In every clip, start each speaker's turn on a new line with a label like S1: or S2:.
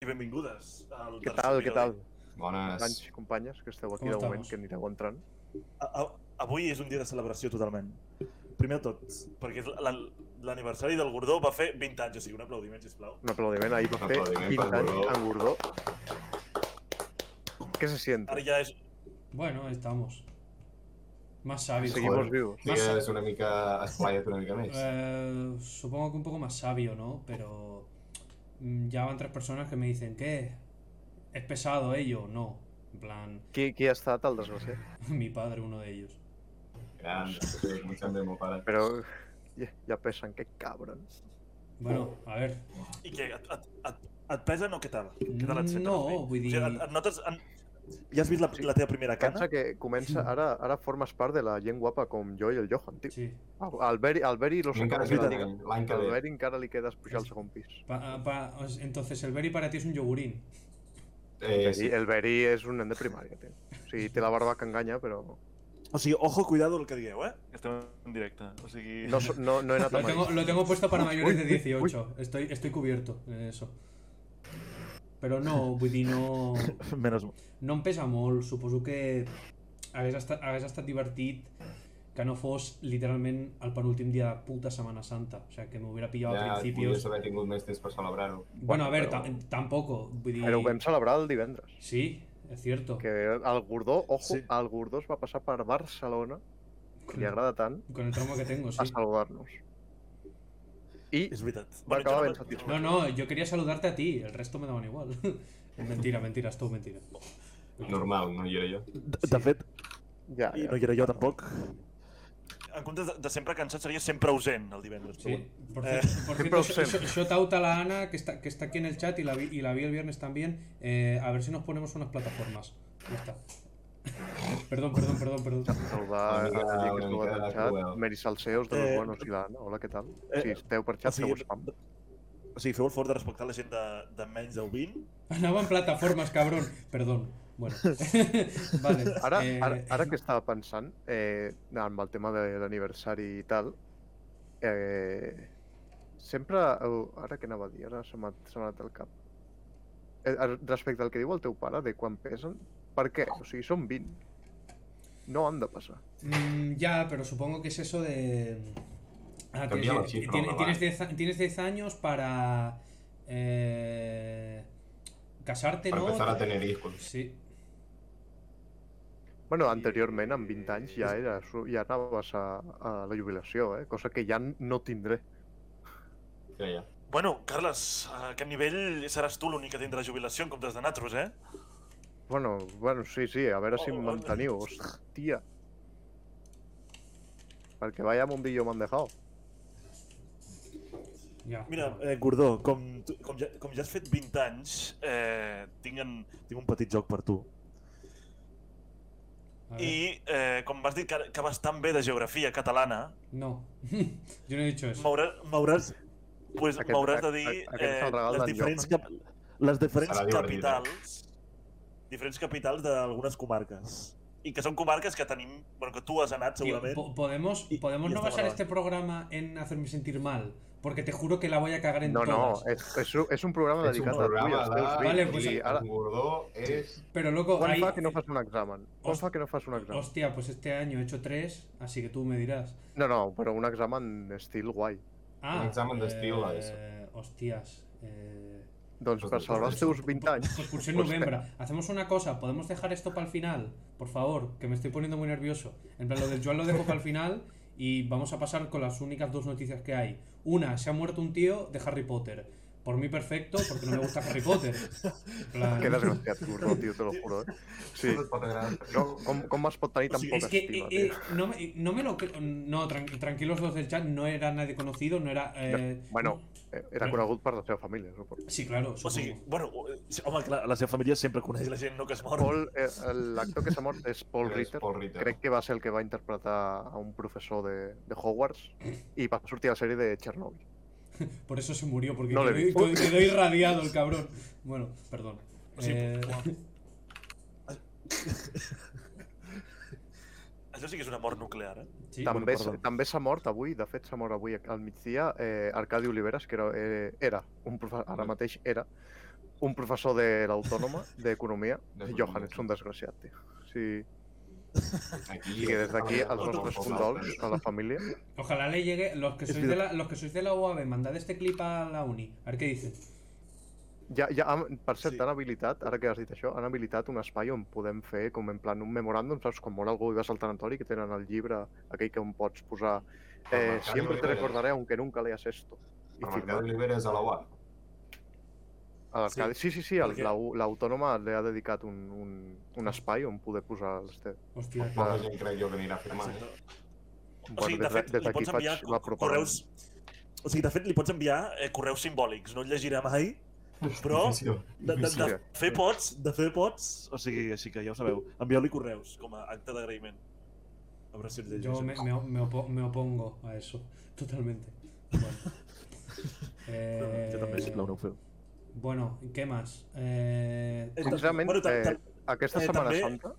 S1: i benvingudes al
S2: Què tal, què tal? Companys,
S3: Bones.
S2: companyes, que esteu aquí
S4: Com
S2: de moment,
S4: estamos?
S2: que anireu entrant.
S1: A, a- avui és un dia de celebració totalment. Primer de tot, perquè és la- l'aniversari del Gordó va fer 20 anys, o sigui, un aplaudiment, sisplau.
S2: Un aplaudiment, ahir va
S3: Un
S2: fer
S3: aplaudiment
S2: 20
S3: pel
S2: anys
S3: Gordó.
S2: en Gordó. Què se sient?
S1: Ara ja és...
S4: Bueno, estamos. Más sabios.
S2: Seguimos
S3: joder.
S2: vivos.
S3: Digues una mica, esplaia't una mica més.
S4: Eh, supongo que un poco más sabio, ¿no? Pero mm, ya van tres personas que me dicen, ¿qué? ¿Es pesado ello? No. En plan,
S2: Qui, qui ha estat el desgraciat?
S4: mi padre, uno de ellos.
S3: Gran, com sempre, meu pare.
S2: Però ja, ja pesen, que cabrons.
S4: Bueno, a ver.
S1: I què, et, et, et, et pesen o què tal? Què tal et sentes?
S4: No,
S1: Bé?
S4: vull
S1: O sigui,
S4: dir-
S1: et, et notes... En... Ja has vist la, la teva primera
S2: Pensa
S1: cana?
S2: que comença, ara, ara formes part de la gent guapa com jo i el Johan, tio.
S4: Sí.
S2: Al Beri, al Beri lo
S3: Encara
S2: sacamos
S3: que
S2: de la liga.
S3: l'any- l'any que
S2: Al
S3: ve.
S2: Beri encara li queda pujar al segon pis.
S4: Pa- ah, pa- os- entonces, el Berry para ti es un yogurín.
S3: Eh, sí.
S2: Sí, el Beri és un nen de primària, tio. O sigui, té la barba que enganya, però
S1: O sigui, ojo, cuidado el que digueu, eh? Estem en directe, o sigui...
S2: no, so- no, no he anat
S4: Lo
S2: a mai.
S4: tengo, lo tengo puesto para mayores de
S2: uy, uy, uy.
S4: 18. Estoy, estoy cubierto en eso. Pero no, vull dir, no...
S1: Menos mal.
S4: No em pesa molt, suposo que hagués estat, hagués estat divertit que no fos literalment el penúltim dia de puta Semana Santa. O sea, que m'hubiera pillado
S3: Ja
S4: a
S3: podies
S4: principios...
S3: haver tingut més temps per celebrar-ho.
S4: Bueno, a ver,
S2: Bueno,
S4: ta- tampoco. Vull dir...
S2: Però ho vam celebrar el divendres.
S4: Sí, es cierto.
S2: Que el Gordó, ojo,
S1: Sí.
S2: el Gordó es va passar per Barcelona, que li
S4: Con-
S2: agrada tant,
S4: Con el trauma que tengo,
S2: a
S4: sí.
S2: saludar-nos. I
S1: És veritat.
S2: va
S1: jo
S2: acabar
S1: no-
S2: ben satisfet.
S4: No, no, yo quería saludarte a ti, el resto me daban igual. mentira, mentira, es todo mentira.
S3: Normal, no hi era jo.
S1: De, de fet,
S2: ja,
S1: i
S2: ja.
S1: no hi era jo tampoc. En comptes de, de sempre cansat, seria sempre ausent el divendres. però
S4: Sí, por, cier- por
S2: qué
S4: cierto,
S2: procede.
S4: sh- sh- shout out a la Ana, que está, que está aquí en el chat y la vi, y la vi el viernes también. Eh, a ver si nos ponemos unas plataformas. Ya está. Perdón, perdón, perdón, perdón.
S2: Saludar
S3: Una
S2: a la
S3: mica-
S2: gent que
S3: una
S2: es troba
S3: mica
S2: en
S3: de
S2: el xat,
S3: cruel.
S2: Meri Salseos, de los
S1: Eh,
S2: buenos i l'Anna, hola, què tal?
S1: eh,
S2: Si esteu per
S1: O
S2: xat, feu
S1: sigui,
S2: spam.
S1: o sigui, feu el favor de respectar la gent de, de menys de 20.
S4: Andaban plataformas, cabrón. Perdón. Bueno. vale.
S2: Ara,
S4: eh,
S2: ara, ara que estava pensant, eh, amb el tema de l'aniversari i tal, eh, sempre... oh, Ara què anava a dir? Ara se m'ha se m'ha anat al cap. Eh, eh, respecte al que diu el teu pare, de quan pesen, per què? O sigui, són 20. No han de passar.
S4: mm, ya, pero supongo que es eso de. Ah,
S3: Cambia la
S4: tienes,
S3: cifra,
S4: tienes-
S3: ¿no?
S4: tienes 10 a- tienes 10 años para. eh, casarte,
S3: Per
S4: ¿no?
S3: empezar a tener hijos.
S4: Sí.
S2: Bueno, anteriorment, amb 20 anys, ja era, su- ja anaves a, a la jubilació, eh? Cosa que ja no tindré.
S3: Ja, ja.
S1: Bueno, Carles, a aquest nivell seràs tu l'únic que tindrà jubilació en comptes de natros, eh?
S2: Bueno, bueno, sí, sí, a veure si
S1: Oh,
S2: em
S1: oh,
S2: manteniu. Hòstia. Perquè vaya mundillo m'han dejado.
S4: Ya.
S1: Mira, eh, Gordó, com, tu- com, ja, com ja has fet 20 anys, eh, tinc, en, tinc un petit joc per tu.
S4: A ver.
S1: I eh, com vas dir que, que vas tan bé de geografia catalana,
S4: No, yo no he dicho eso.
S1: m'haurà- m'hauràs pues,
S2: Aquest-
S1: m'hauràs de
S2: a-
S1: dir
S2: a- aquest és
S1: eh,
S2: el regal
S1: les
S2: d'en
S1: diferents,
S2: Johan.
S1: cap, les diferents
S3: Serà divertit, eh?
S1: capitals diferents capitals d'algunes comarques. I que són comarques que tenim... Bueno, que tu has anat,
S4: Tío,
S1: segurament.
S4: po- podemos
S1: Y-
S4: podemos
S1: y
S4: no
S1: está
S4: basar
S1: grabado.
S4: este programa en hacerme sentir mal, porque te juro que la voy a cagar en
S2: No, eh, no,
S4: todas.
S2: és, és, un- és un programa
S3: És un
S2: dedicat a tu
S3: programa
S2: i
S3: de...
S2: als teus
S4: Vale,
S2: fills.
S4: pues-
S2: i
S3: ara...
S2: ara,
S3: Gordó és...
S4: Pero loco,
S2: quan
S4: hay-
S2: fa que no fas un examen? Quan
S4: Host-
S2: fa que no fas un examen?
S4: hostia, pues este año he hecho tres, así que tú me dirás.
S2: No, no, però un examen estil guai.
S4: Ah, eh,
S3: Un examen de estilo a eso.
S4: Hostias. eh,
S2: Doncs per
S3: Pues-
S2: celebrar els teus 20 anys...
S4: Pues pulsé en
S2: pues
S4: noviembre. Hacemos una cosa, podemos dejar esto para el final, por favor, que me estoy poniendo muy nervioso. En plan, lo del Joan lo dejo para el final y vamos a pasar con las únicas dos noticias que hay. Una, se ha muerto un tío de Harry Potter. Por mí perfecto, porque no me gusta Harry Potter. En plan-
S2: Que desgraciat, Gordó, tio, te lo juro, eh? Sí,
S3: Tot es pot agradar.
S2: no, com, com es pot tenir tan
S1: sigui,
S2: poca
S4: Es que
S2: estima,
S4: eh, eh,
S2: tio?
S4: no, me, no me lo creo. No, tran- tranquilos los del chat, no era nadie conocido, no era. eh,
S2: Bueno, eh, era conegut per la seva família, suposo.
S4: Sí, claro.
S1: O sigui,
S4: supongo.
S1: bueno, eh, home, clar, la seva família sempre coneix la gent no que es mor.
S2: Paul, eh, l'actor que s'ha mort és Paul
S3: És
S2: Ritter.
S3: Paul Ritter.
S2: Crec que va ser el que va interpretar a un professor de, de Hogwarts i va sortir a la sèrie de Chernobyl.
S4: Por eso se murió, porque
S2: No le vi.
S4: quedó, quedó irradiado el cabrón. Bueno, perdón.
S1: O sigui,
S4: Eh,
S1: Això sí que és una mort nuclear, eh?
S4: sí,
S1: bueno,
S2: també s-
S1: perdó.
S2: també s'ha mort avui, de fet s'ha mort avui al migdia, eh, Arcadi Oliveres, que era, eh, era un professor, ara mateix era, un professor de l'Autònoma d'Economia,
S3: De
S2: Johan,
S3: economia,
S2: ets un desgraciat, tio. Sí,
S3: Aquí,
S2: i que des d'aquí els
S1: Otro
S2: nostres
S1: professor.
S2: condols a la família.
S4: Ojalá le llegue. Los que
S2: Es
S4: sois de
S2: verdad.
S4: la, los que sois de la UAB, mandad este clip a la uni. A ver qué dicen.
S2: Ja, ja han, per cert,
S1: Sí.
S2: han habilitat, ara que has dit això, han habilitat un espai on podem fer com en plan un memoràndum, saps? Quan mor algú i vas al tanatori, que tenen el llibre aquell que on pots posar eh,
S3: Mercado
S2: Siempre te
S3: Libre.
S2: recordaré aunque nunca leas esto. I
S3: Per
S2: firmar
S3: Mercado Libre és a la UA.
S2: a l'arcade. Sí, sí, sí, el-
S1: perquè-
S2: la U- l'autònoma li ha dedicat un, un, un espai on poder posar les teves.
S4: Hostia.
S3: Poca gent crec jo que anirà a firmar.
S1: Exacte.
S3: Eh?
S1: O sigui, de fet, li pots enviar co- correus... O sigui, de fet, li pots enviar eh, correus simbòlics, no et llegirà mai, però
S3: Difícil.
S1: de, de, de,
S2: Sí.
S1: fer pots, de fer pots, o sigui, així que ja ho sabeu, envieu-li correus com a acte d'agraïment. A veure si et llegeix.
S4: Yo me, me- me opo- me opongo a eso. Totalmente. Bueno. Eh,
S1: Jo també, sisplau, no ho feu.
S4: Bueno, ¿qué más? Eh,
S1: Eh,
S2: Sincerament,
S1: bueno, ta-
S2: eh,
S1: ta-
S2: aquesta
S1: eh,
S2: Setmana
S1: també-
S2: Santa...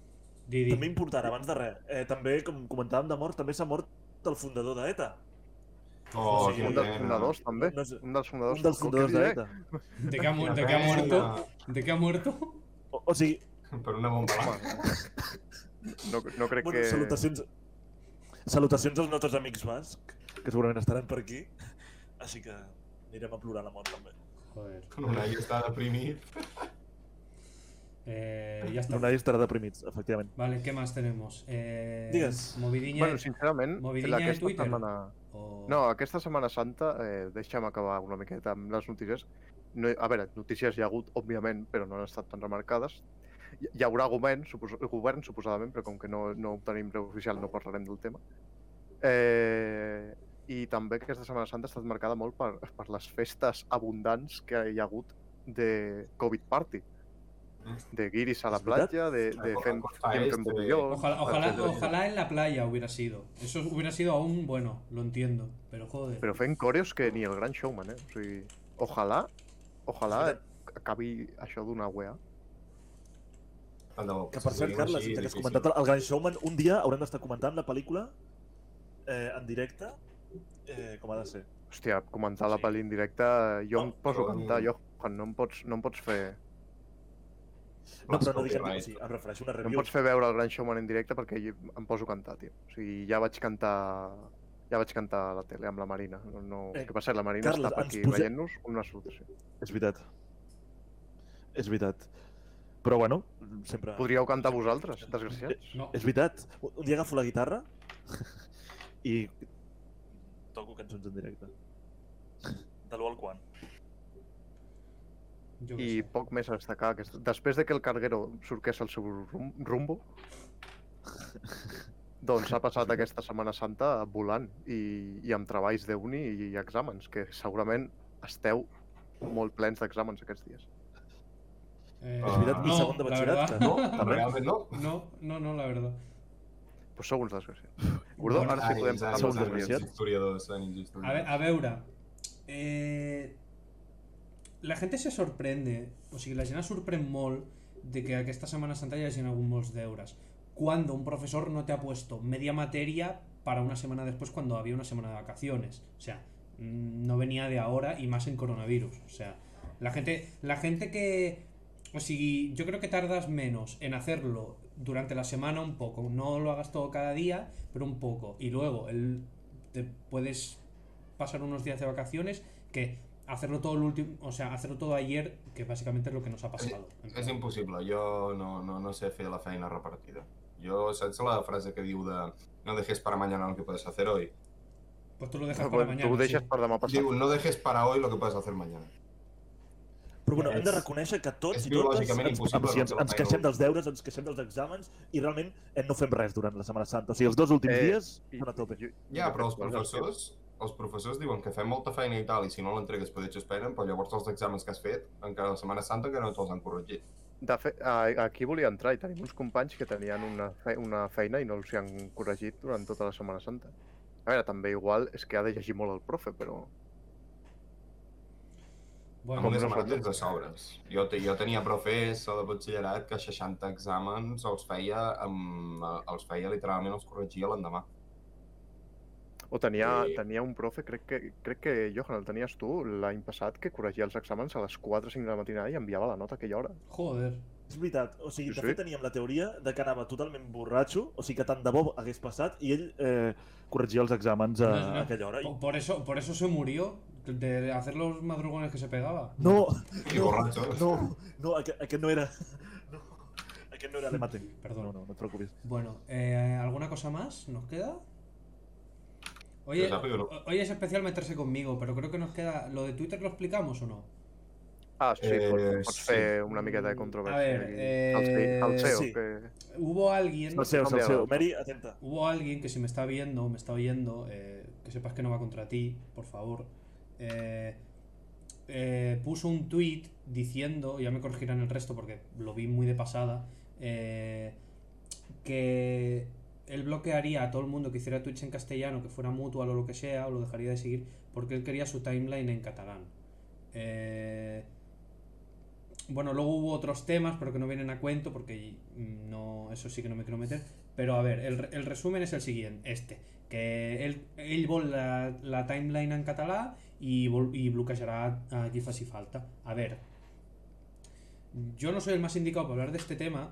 S4: Didi.
S1: També important, abans de res, eh, també, com comentàvem de mort, també s'ha mort el fundador d'ETA.
S3: Oh,
S1: Sí,
S3: quina
S2: Un dels
S3: pena.
S2: fundadors, també.
S1: eh, No sé.
S2: Un dels fundadors.
S1: Un dels
S2: Com
S1: fundadors
S2: que diré,
S1: d'ETA.
S4: ¿De qué ha, mu-
S3: Quina
S4: de qué ha
S3: pena.
S4: muerto? ¿De qué ha muerto?
S1: O, o sigui,
S3: Per una bomba.
S2: No, no crec
S1: bueno,
S2: que...
S1: salutacions... Salutacions als nostres amics basc, que segurament estaran per aquí. Així que anirem a plorar la mort, també.
S4: Joder.
S3: L'Unai està deprimit.
S4: Eh,
S1: No,
S4: ya está.
S1: nadie estarà deprimits, efectivament.
S4: Vale, ¿qué más tenemos? Eh,
S1: Digas.
S4: Movidiña.
S2: Bueno, sincerament,
S4: Movidiña de
S2: aquesta
S4: Twitter.
S2: setmana...
S4: o-
S2: No, aquesta Setmana Santa, eh, deixa'm acabar una miqueta amb les notícies. No, a veure, notícies hi ha hagut, òbviament, però no han estat tan remarcades. Hi, hi haurà govern, supos govern, suposadament, però com que no, no ho tenim preu oficial no parlarem del tema. Eh, I també aquesta Setmana Santa ha estat marcada molt per, per les festes abundants que hi ha hagut de Covid Party. De guiris a la
S1: Ah. És veritat?
S2: platja, de, de
S3: Recorda
S2: fent,
S3: cosa
S2: fent, fent
S3: este.
S2: botellons,
S4: Ojalá, ojalá,
S2: etcètera.
S4: ojalá en la playa hubiera sido. Eso hubiera sido aún bueno, lo entiendo. Pero joder.
S2: Pero fent coreos que ni el gran showman, eh? O sigui, ojalà, ojalà
S1: És
S2: acabi això d'una wea.
S3: Tant de bo.
S1: Que per cert,
S3: Diguem
S1: Carles,
S3: així,
S1: sí, que has
S3: difícil.
S1: comentat el Gran Showman, un dia haurem d'estar comentant la pel·lícula eh, en directe, eh, com ha de ser.
S2: Hòstia, comentar la
S1: Sí. Oh,
S2: pel·li en directe, jo em
S3: No,
S2: poso a
S3: però-
S2: cantar, jo, Juan, no em pots, no em pots fer...
S1: No, però no dic en
S3: Copyright.
S1: sí, em refereixo a una
S2: No em
S1: review.
S2: pots fer veure el gran showman en directe perquè jo em poso a cantar, tio. O sigui, ja vaig cantar... Ja vaig cantar a la tele amb la Marina. No, no...
S1: Eh,
S2: Què passa? La Marina
S1: Carles,
S2: està per
S1: ens
S2: aquí
S1: posa-
S2: veient-nos una salutació.
S1: És veritat. És veritat. Però bueno, sempre...
S2: Podríeu
S1: Ah.
S2: cantar vosaltres, desgraciats?
S4: No.
S1: És veritat. Un dia agafo la guitarra i toco cançons en directe. De l'1 al quan.
S4: yo qué
S2: I
S4: sé.
S2: poc més a destacar. Que... Després de que el carguero surqués al seu rum rumbo, doncs ha passat aquesta Setmana Santa volant i, i amb treballs de uni i, exàmens, que segurament esteu molt plens d'exàmens aquests dies.
S4: Eh,
S1: És veritat,
S3: no,
S1: i segon de
S4: la
S1: batxillerat,
S4: verdad.
S1: que
S3: No, realment no.
S4: No, no, no, la verdad.
S2: Pues sou uns desgraciats. Gordó,
S4: Bueno,
S2: ara sí podem
S3: Anys,
S2: parlar
S1: sou uns
S2: dels
S3: anys, anys,
S2: desgraciats.
S1: desgraciats.
S3: historiadors, anys, historiadors.
S4: A ver, a veure, eh, la gent se sorprende, o sigui, la gent es sorprèn molt de que aquesta Setmana Santa hi hagin hagut molts deures. Cuando un profesor no te ha puesto media materia para una semana después cuando había una semana de vacaciones. O sea, mm, no venía de ahora y más en coronavirus. O sea, la gente, la gente que... O sigui, yo creo que tardas menos en hacerlo durante la semana un poco. No lo hagas todo cada día, pero un poco. Y luego el, te puedes pasar unos días de vacaciones que hacerlo todo el último, o sea, hacerlo todo ayer, que básicamente es lo que nos ha pasado. En
S3: És
S4: plan,
S3: impossible, jo no, no, no sé fer la feina repartida. Jo, saps la frase que diu de no dejes para mañana lo que puedes hacer hoy?
S4: Pues tú lo dejas para
S2: Bueno,
S4: mañana.
S2: tu ho
S4: sí.
S2: deixes per demà passat.
S3: Diu, no dejes para hoy lo que puedes hacer mañana.
S1: Però bueno, hem de
S3: És-
S1: reconèixer que tots
S3: és
S1: i totes
S3: biològicament
S1: ens,
S3: impossible
S1: ens,
S3: no
S1: ens,
S3: fer la
S1: ens
S3: feina
S1: queixem
S3: avui.
S1: dels deures, ens queixem dels exàmens i realment eh, no fem res durant la Setmana Santa. O sigui, els dos últims
S2: Eh,
S1: dies
S2: I-
S1: són a tope.
S2: jo-
S3: Ja,
S2: jo
S3: però els
S2: crec que
S3: professors, els professors diuen que fem molta feina i tal, i si no l'entregues per suspenen, però llavors els exàmens que has fet, encara la Setmana Santa encara no te'ls han corregit.
S2: De fet, a- aquí volia entrar i tenim uns companys que tenien una, fe una feina i no els hi han corregit durant tota la Setmana Santa. A veure, també igual és que ha de llegir molt el profe, però...
S3: Amb
S4: Bueno,
S2: Com-
S3: unes
S2: no
S3: matèries
S2: falta.
S3: de sobres. Jo, te- jo tenia profes de batxillerat que 60 eh, exàmens els feia, amb, els feia literalment els corregia l'endemà.
S2: O tenia,
S5: Sí.
S2: tenia un profe, crec que, crec que Johan, el tenies tu l'any passat, que corregia els exàmens a les 4 o 5 de la matinada i enviava la nota a aquella hora.
S4: Joder.
S1: És veritat, o sigui,
S2: Sí,
S1: de
S2: sí.
S1: fet teníem la teoria de que anava totalment borratxo, o sigui que tant de bo hagués passat i ell eh, corregia els exàmens a,
S4: No,
S3: Mm-hmm.
S4: no, no.
S1: a aquella hora. I...
S3: Oh.
S4: Por, por eso, por eso se murió de hacer los madrugones que se pegaba.
S1: No,
S3: I
S1: no,
S3: borratxo.
S1: no, no, aqu- aquest no era... No, aquest no era l'Emate.
S4: Perdón.
S1: No, no, no et preocupis.
S4: Bueno, eh, ¿alguna cosa más nos queda? Oye,
S3: Pues rápido, ¿no?
S4: o- hoy es especial meterse conmigo, pero creo que nos queda. ¿Lo de Twitter lo explicamos o no?
S2: Ah, sí,
S3: Eh,
S2: pots, pots
S3: sí.
S2: fer una miqueta de
S4: Mm,
S2: controversia.
S4: a ver,
S2: aquí.
S4: eh,
S2: El CEO- El CEO,
S1: sí.
S2: que...
S4: Hubo alguien.
S1: El seu, el seu. Meri, atenta.
S4: Hubo alguien que si me está viendo, me está oyendo, eh, que sepas que no va contra ti, por favor. eh, eh, puso un tweet diciendo, ya me corregirán el resto porque lo vi muy de pasada, eh, que él bloquearía a todo el mundo que hiciera tweets en castellano, que fuera mutual o lo que sea, o lo dejaría de seguir, porque él quería su timeline en catalán. Eh, bueno, luego hubo otros temas, pero que no vienen a cuento, porque mm, no, eso sí que no me quiero meter. Pero a ver, el, re- el resumen es el siguiente, este, que ell, ell vol la, la timeline en català i, vol, i bloquejarà a qui faci falta. A ver, yo no soy el más indicado para hablar de este tema,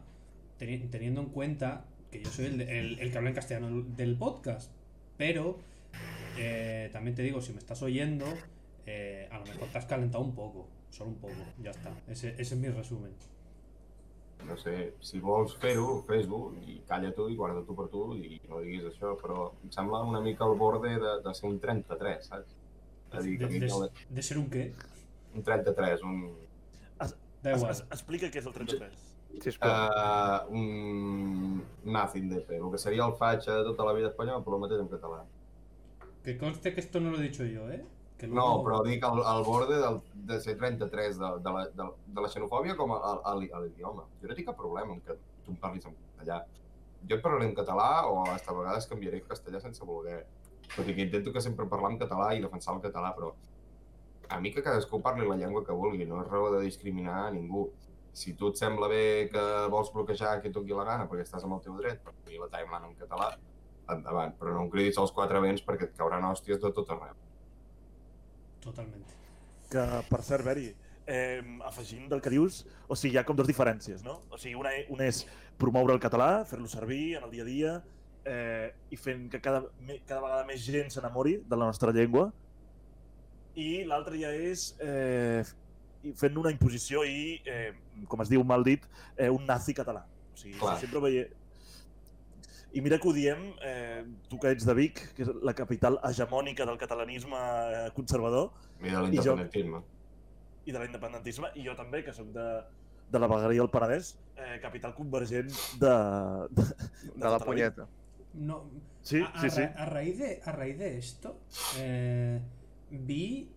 S4: teni- teniendo en cuenta que yo soy el, de- el- el que habla en castellano del podcast, pero eh, también te digo, si me estás oyendo, eh, a lo mejor te has calentado un poco, solo un poco, ya está. Ese, ese es mi resumen.
S3: No sé, si vols fer-ho, fes-ho i calla tu i guarda tu per tu i no diguis això, però em sembla una mica al borde de, de ser un 33, saps? És a dir,
S4: De,
S3: que a mi em
S4: de-
S3: sembla
S4: de ser un qué,
S3: un 33, un,
S4: da
S1: Es,
S4: igual.
S1: es, explica què és el 33.
S2: Sisplau.
S3: uh, un nothing de fer, el que seria el fatxa de tota la vida espanyola, però el mateix en català.
S4: Que conste que esto no lo he dicho yo, ¿eh? Que
S3: No,
S4: luego-
S3: però dic al, al borde del, de ser 33 de, de, la, de, de la xenofòbia com a, a, a l'idioma. Jo no tinc cap problema amb que tu em parlis en castellà. Jo et parlaré en català o hasta a vegades canviaré el castellà sense voler. Tot i que intento que sempre parlar en català i defensar el català, però a mi que cadascú parli la llengua que vulgui, no és raó de discriminar a ningú. Si tu et sembla bé que vols bloquejar qui et doni la gana perquè estàs amb el teu dret, per tenir la timeline en català, endavant. Però no em cridis als quatre vents perquè et cauran hòsties de tota tot arreu.
S4: Totalmente.
S1: Que, per cert, Beri, eh, afegint del que dius, o sigui, hi ha com dues diferències, no? O sigui, una, e, una és promoure el català, fer-lo servir en el dia a dia eh, i fent que cada, me- cada vegada més gent s'enamori de la nostra llengua. I l'altra ja és eh, i fent una imposició i, eh, com es diu mal dit, eh, un nazi català. O sigui,
S3: Clar.
S1: sempre veie... I mira que ho diem, eh, tu que ets de Vic, que és la capital hegemònica del catalanisme eh, conservador,
S3: Mira
S1: I jo-
S3: l'independentisme.
S1: i de l'independentisme, i jo també, que sóc de, de la Vegueria del Penedès, eh, capital convergent de... de... Ah,
S2: de la punyeta.
S4: No,
S1: Sí,
S4: a, a
S1: sí, sí.
S4: ra- a raíz de, a raíz de esto, eh, vi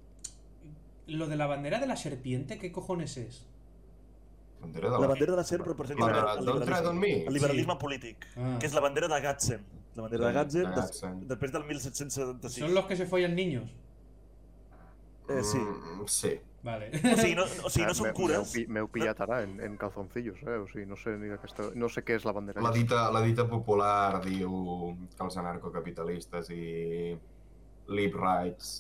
S4: lo de la bandera de la serpiente, ¿qué cojones es?
S3: Bandera de
S1: La bandera de la SER representa
S3: Bueno,
S1: el,
S3: don't tread on
S1: liberalisme,
S3: me.
S1: el liberalisme polític,
S4: Ah,
S1: que és la bandera de Gatzen. La bandera de Gatzen,
S3: De
S1: des,
S3: Gatzen.
S1: després del 1776.
S4: Son los que se follan niños.
S1: Eh, sí.
S3: Mm, sí.
S4: Vale.
S1: O sigui, no, o sigui, no són
S2: M'heu-
S1: cures.
S2: m'heu pi- M'heu pillat ara en, en calzoncillos, eh? O sigui, no sé, ni aquesta... no sé què és la bandera.
S3: La dita, la dita popular diu que els anarcocapitalistes i lib rights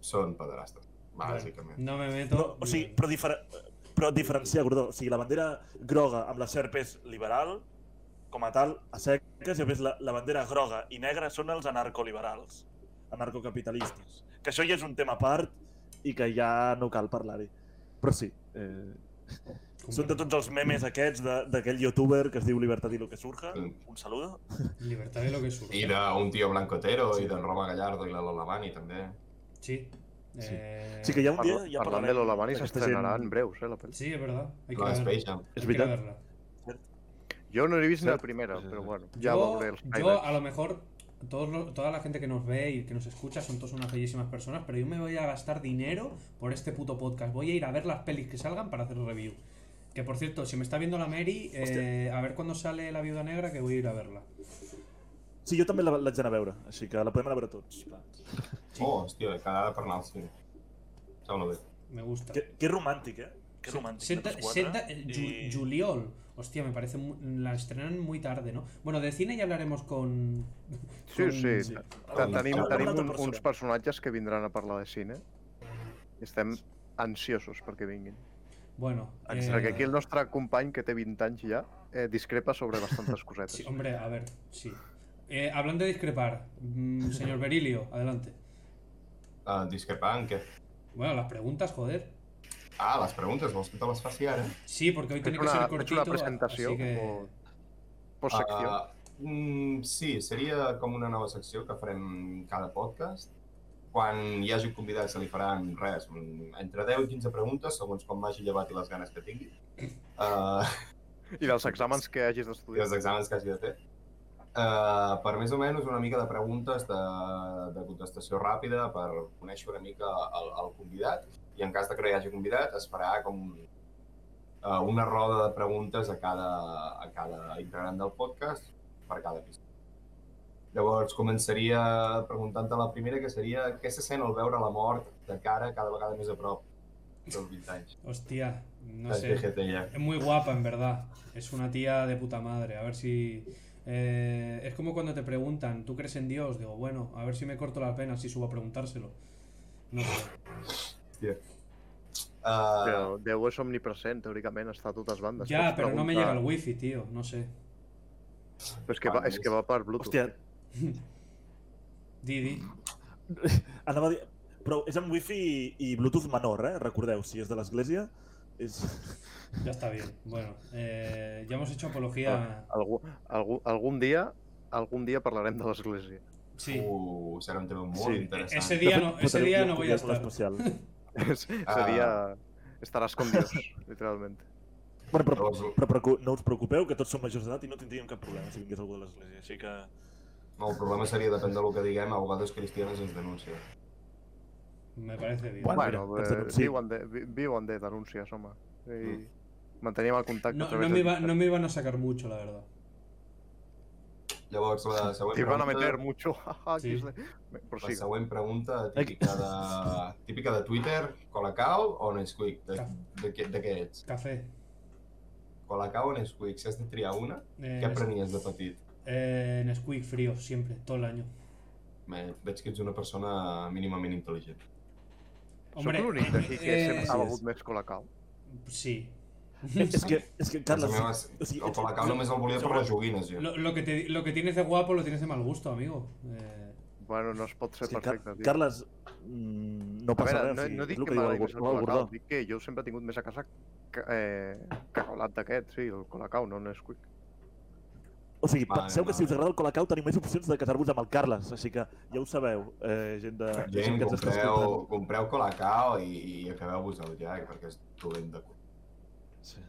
S3: són pederastes,
S1: Mm.
S3: bàsicament.
S4: No me meto.
S1: Però, o
S2: Mm.
S1: sigui, però, difer però diferenciar, Gordó. O sigui, la bandera groga amb la serp és liberal, com a tal, a seques, i a més la, la bandera groga i negra són els anarcoliberals, anarcocapitalistes. Que això ja és un tema a part i que ja no cal parlar-hi. Però sí, eh, són de tots els memes aquests de- d'aquell youtuber que es diu Libertad y lo que surja.
S2: Mm.
S1: Un saludo.
S4: Libertad de lo que surge.
S3: I d'un tio blancotero, i del Roma Gallardo i la Lola Mani, també.
S4: Sí.
S1: Sí.
S4: Eh,
S1: Sí que ja un dia ja
S2: Parla- parlant de
S1: parlarem
S2: l'Olavani
S1: d'aquesta
S2: s'estrenarà
S1: gent.
S2: en breus, eh, la pel·li.
S4: Sí, es verdad. Hay que
S3: La
S4: verla.
S3: Space Jam.
S4: Hay
S1: Es
S4: que
S1: verdad.
S4: verla.
S2: Jo no he vist ni la
S1: Cert.
S2: primera,
S5: Sí, sí,
S2: però
S5: sí.
S2: bueno, ja
S4: yo,
S2: veuré els
S4: yo
S2: highlights.
S4: a lo mejor, todos lo- toda la gente que nos ve y que nos escucha son todas unas bellísimas personas, pero yo me voy a gastar dinero por este puto podcast. Voy a ir a ver las pelis que salgan para hacer review. Que por cierto, si me está viendo la Mary, eh, a ver cuándo sale La Viuda Negra, que voy a ir a verla.
S1: Sí, jo també la- l'haig d'anar a veure, així que la podem anar a veure tots.
S3: Oh, hòstia, cada de parlar al cine. Sembla bé.
S4: Me gusta.
S1: Que, que romàntic, eh? Qué
S4: Se-
S1: romántico.
S4: Senta-
S1: los cuatro.
S4: Senta- eh, Ju-
S1: Y-
S4: Juliol. Hostia, me parece. mu- La estrenan muy tarde, ¿no? Bueno, de cine ya hablaremos con.
S2: Sí, sí.
S1: Sí.
S2: Te- Tenim,
S1: Hablem
S2: tenim
S1: d'altra
S2: un,
S1: persona.
S2: uns personatges que vindran a parlar de cine i estem ansiosos perquè vinguin.
S4: Bueno.
S1: Exacte.
S4: eh,
S2: Perquè aquí el nostre company, que té 20 anys ja, eh, discrepa sobre bastantes cosetes.
S4: sí, hombre, a ver, sí. Eh, hablando de discrepar, mm, señor Berilio, adelante.
S3: Uh, discrepar en què?
S4: Bueno, las preguntas, joder.
S3: Ah, les preguntes, vols que te les faci ara?
S4: Sí, porque hoy tiene que
S2: una-
S4: ser
S2: he hecho una
S4: cortito.
S2: presentación
S4: así que-
S2: como- Por secció.
S3: Ah, mm, sí, seria com una nova secció que farem cada podcast. Quan hi hagi un convidat se li faran res, mm, entre 10 i 15 preguntes, segons com m'hagi llevat i les ganes que tingui. Uh,
S2: I dels exàmens que hagis
S3: I els
S2: d'estudiar.
S3: exàmens que hagi de fer. Uh, per més o menys una mica de preguntes de, de contestació ràpida per conèixer una mica el, el convidat i en cas de que no hi hagi convidat es farà com uh, una roda de preguntes a cada, a cada integrant del podcast per cada episodi. Llavors començaria preguntant-te la primera que seria què se sent al veure la mort de cara cada vegada més a prop dels 20 anys.
S4: Hostia, no
S3: dels
S4: sé.
S3: VGT ja.
S4: Es muy guapa, en verdad. Es una tía de puta madre. A ver si. eh, es como cuando te preguntan, ¿tú crees en Dios? Digo, bueno, a ver si me corto las venas y subo a preguntárselo. No sé.
S3: Uh,
S2: Déu, Déu és omnipresent, teòricament, està a totes bandes.
S4: Ya,
S2: Pots
S4: pero no me llega
S2: preguntar-
S4: el wifi, tío. No sé.
S2: Però és que, va, és que va per Bluetooth.
S1: Hòstia,
S4: Didi.
S1: anava a dir... Però és amb wifi i, i Bluetooth menor, eh? Recordeu, si és de l'església, és...
S4: Ya está bien. Bueno, eh, ya hemos hecho apología.
S2: Algú, algú, algun dia algun dia parlarem de l'església.
S4: Sí.
S3: Uh, serà un tema molt
S2: Sí.
S3: interessant.
S4: Ese día no, ese día no voy a estar.
S1: Especial.
S2: És- Seria... Estaràs con Dios, literalment.
S1: Bueno, però,
S3: Llavors,
S1: però, però no us preocupeu, que tots som majors d'edat i no tindríem cap problema si vingués algú de l'església, així que...
S3: No, el problema seria, depèn del que diguem, abogados cristianos ens denuncia.
S4: Me parece bien.
S1: Bueno,
S2: Bueno,
S1: mira,
S2: eh,
S1: ens denuncien.
S2: viuen, de, vi- viuen de denúncies, home. I
S3: Mm.
S2: manteníem el contacte a
S4: No,
S2: través
S4: no, me
S2: de...
S4: iba- no
S2: internet.
S4: me iban a sacar mucho, la verdad.
S3: Llavors, la següent
S2: Te van a
S3: pregunta,
S2: meter mucho. jaja,
S4: Sí.
S2: aquí es de- Però
S3: la
S2: sí,
S3: següent pregunta típica de, típica de Twitter, Colacao o Nesquik? De, de, què- de què ets?
S4: Café.
S3: Colacao o Nesquik? Si has de triar una,
S4: Eh,
S3: què aprenies de petit?
S4: eh, Nesquik frío, siempre, todo el año.
S3: Me, veig que ets una persona mínimament intel·ligent.
S2: Sóc
S4: Hombre,
S2: l'únic d'aquí que
S4: eh,
S2: sempre ha
S1: sí,
S2: begut més colacao.
S4: Sí.
S1: És que, és que
S3: Casa
S1: Carles,
S3: meva,
S1: o sigui,
S3: el Colacao
S1: no-
S3: només el volia per les joguines, jo.
S4: Lo, lo que te- lo que tienes de guapo lo tienes de mal gusto, amigo. Eh,
S2: Bueno, no es pot ser
S1: és que,
S2: perfecte.
S1: Car
S2: tio.
S1: Carles, mm, no
S2: a
S1: passa
S2: veure,
S1: res. o
S2: no,
S1: sigui,
S2: no
S1: és
S2: dic
S1: el
S2: que m'agradi
S1: diu
S2: més el
S1: el Gordó.
S2: colacao, dic que jo sempre he tingut més a casa ca- eh, cacaolat d'aquest, sí, el colacao, no Nesquik.
S1: O sigui,
S3: Mare
S1: penseu que si us
S3: meva.
S1: agrada el Colacau teniu més opcions de casar-vos amb el Carles, així que ja ho sabeu, eh, gent de... gent
S3: Gent,
S1: que ens està
S3: compreu,
S1: escoltant.
S3: compreu Colacao i, i acabeu-vos-el ja, perquè és dolent de cul.
S1: Sí.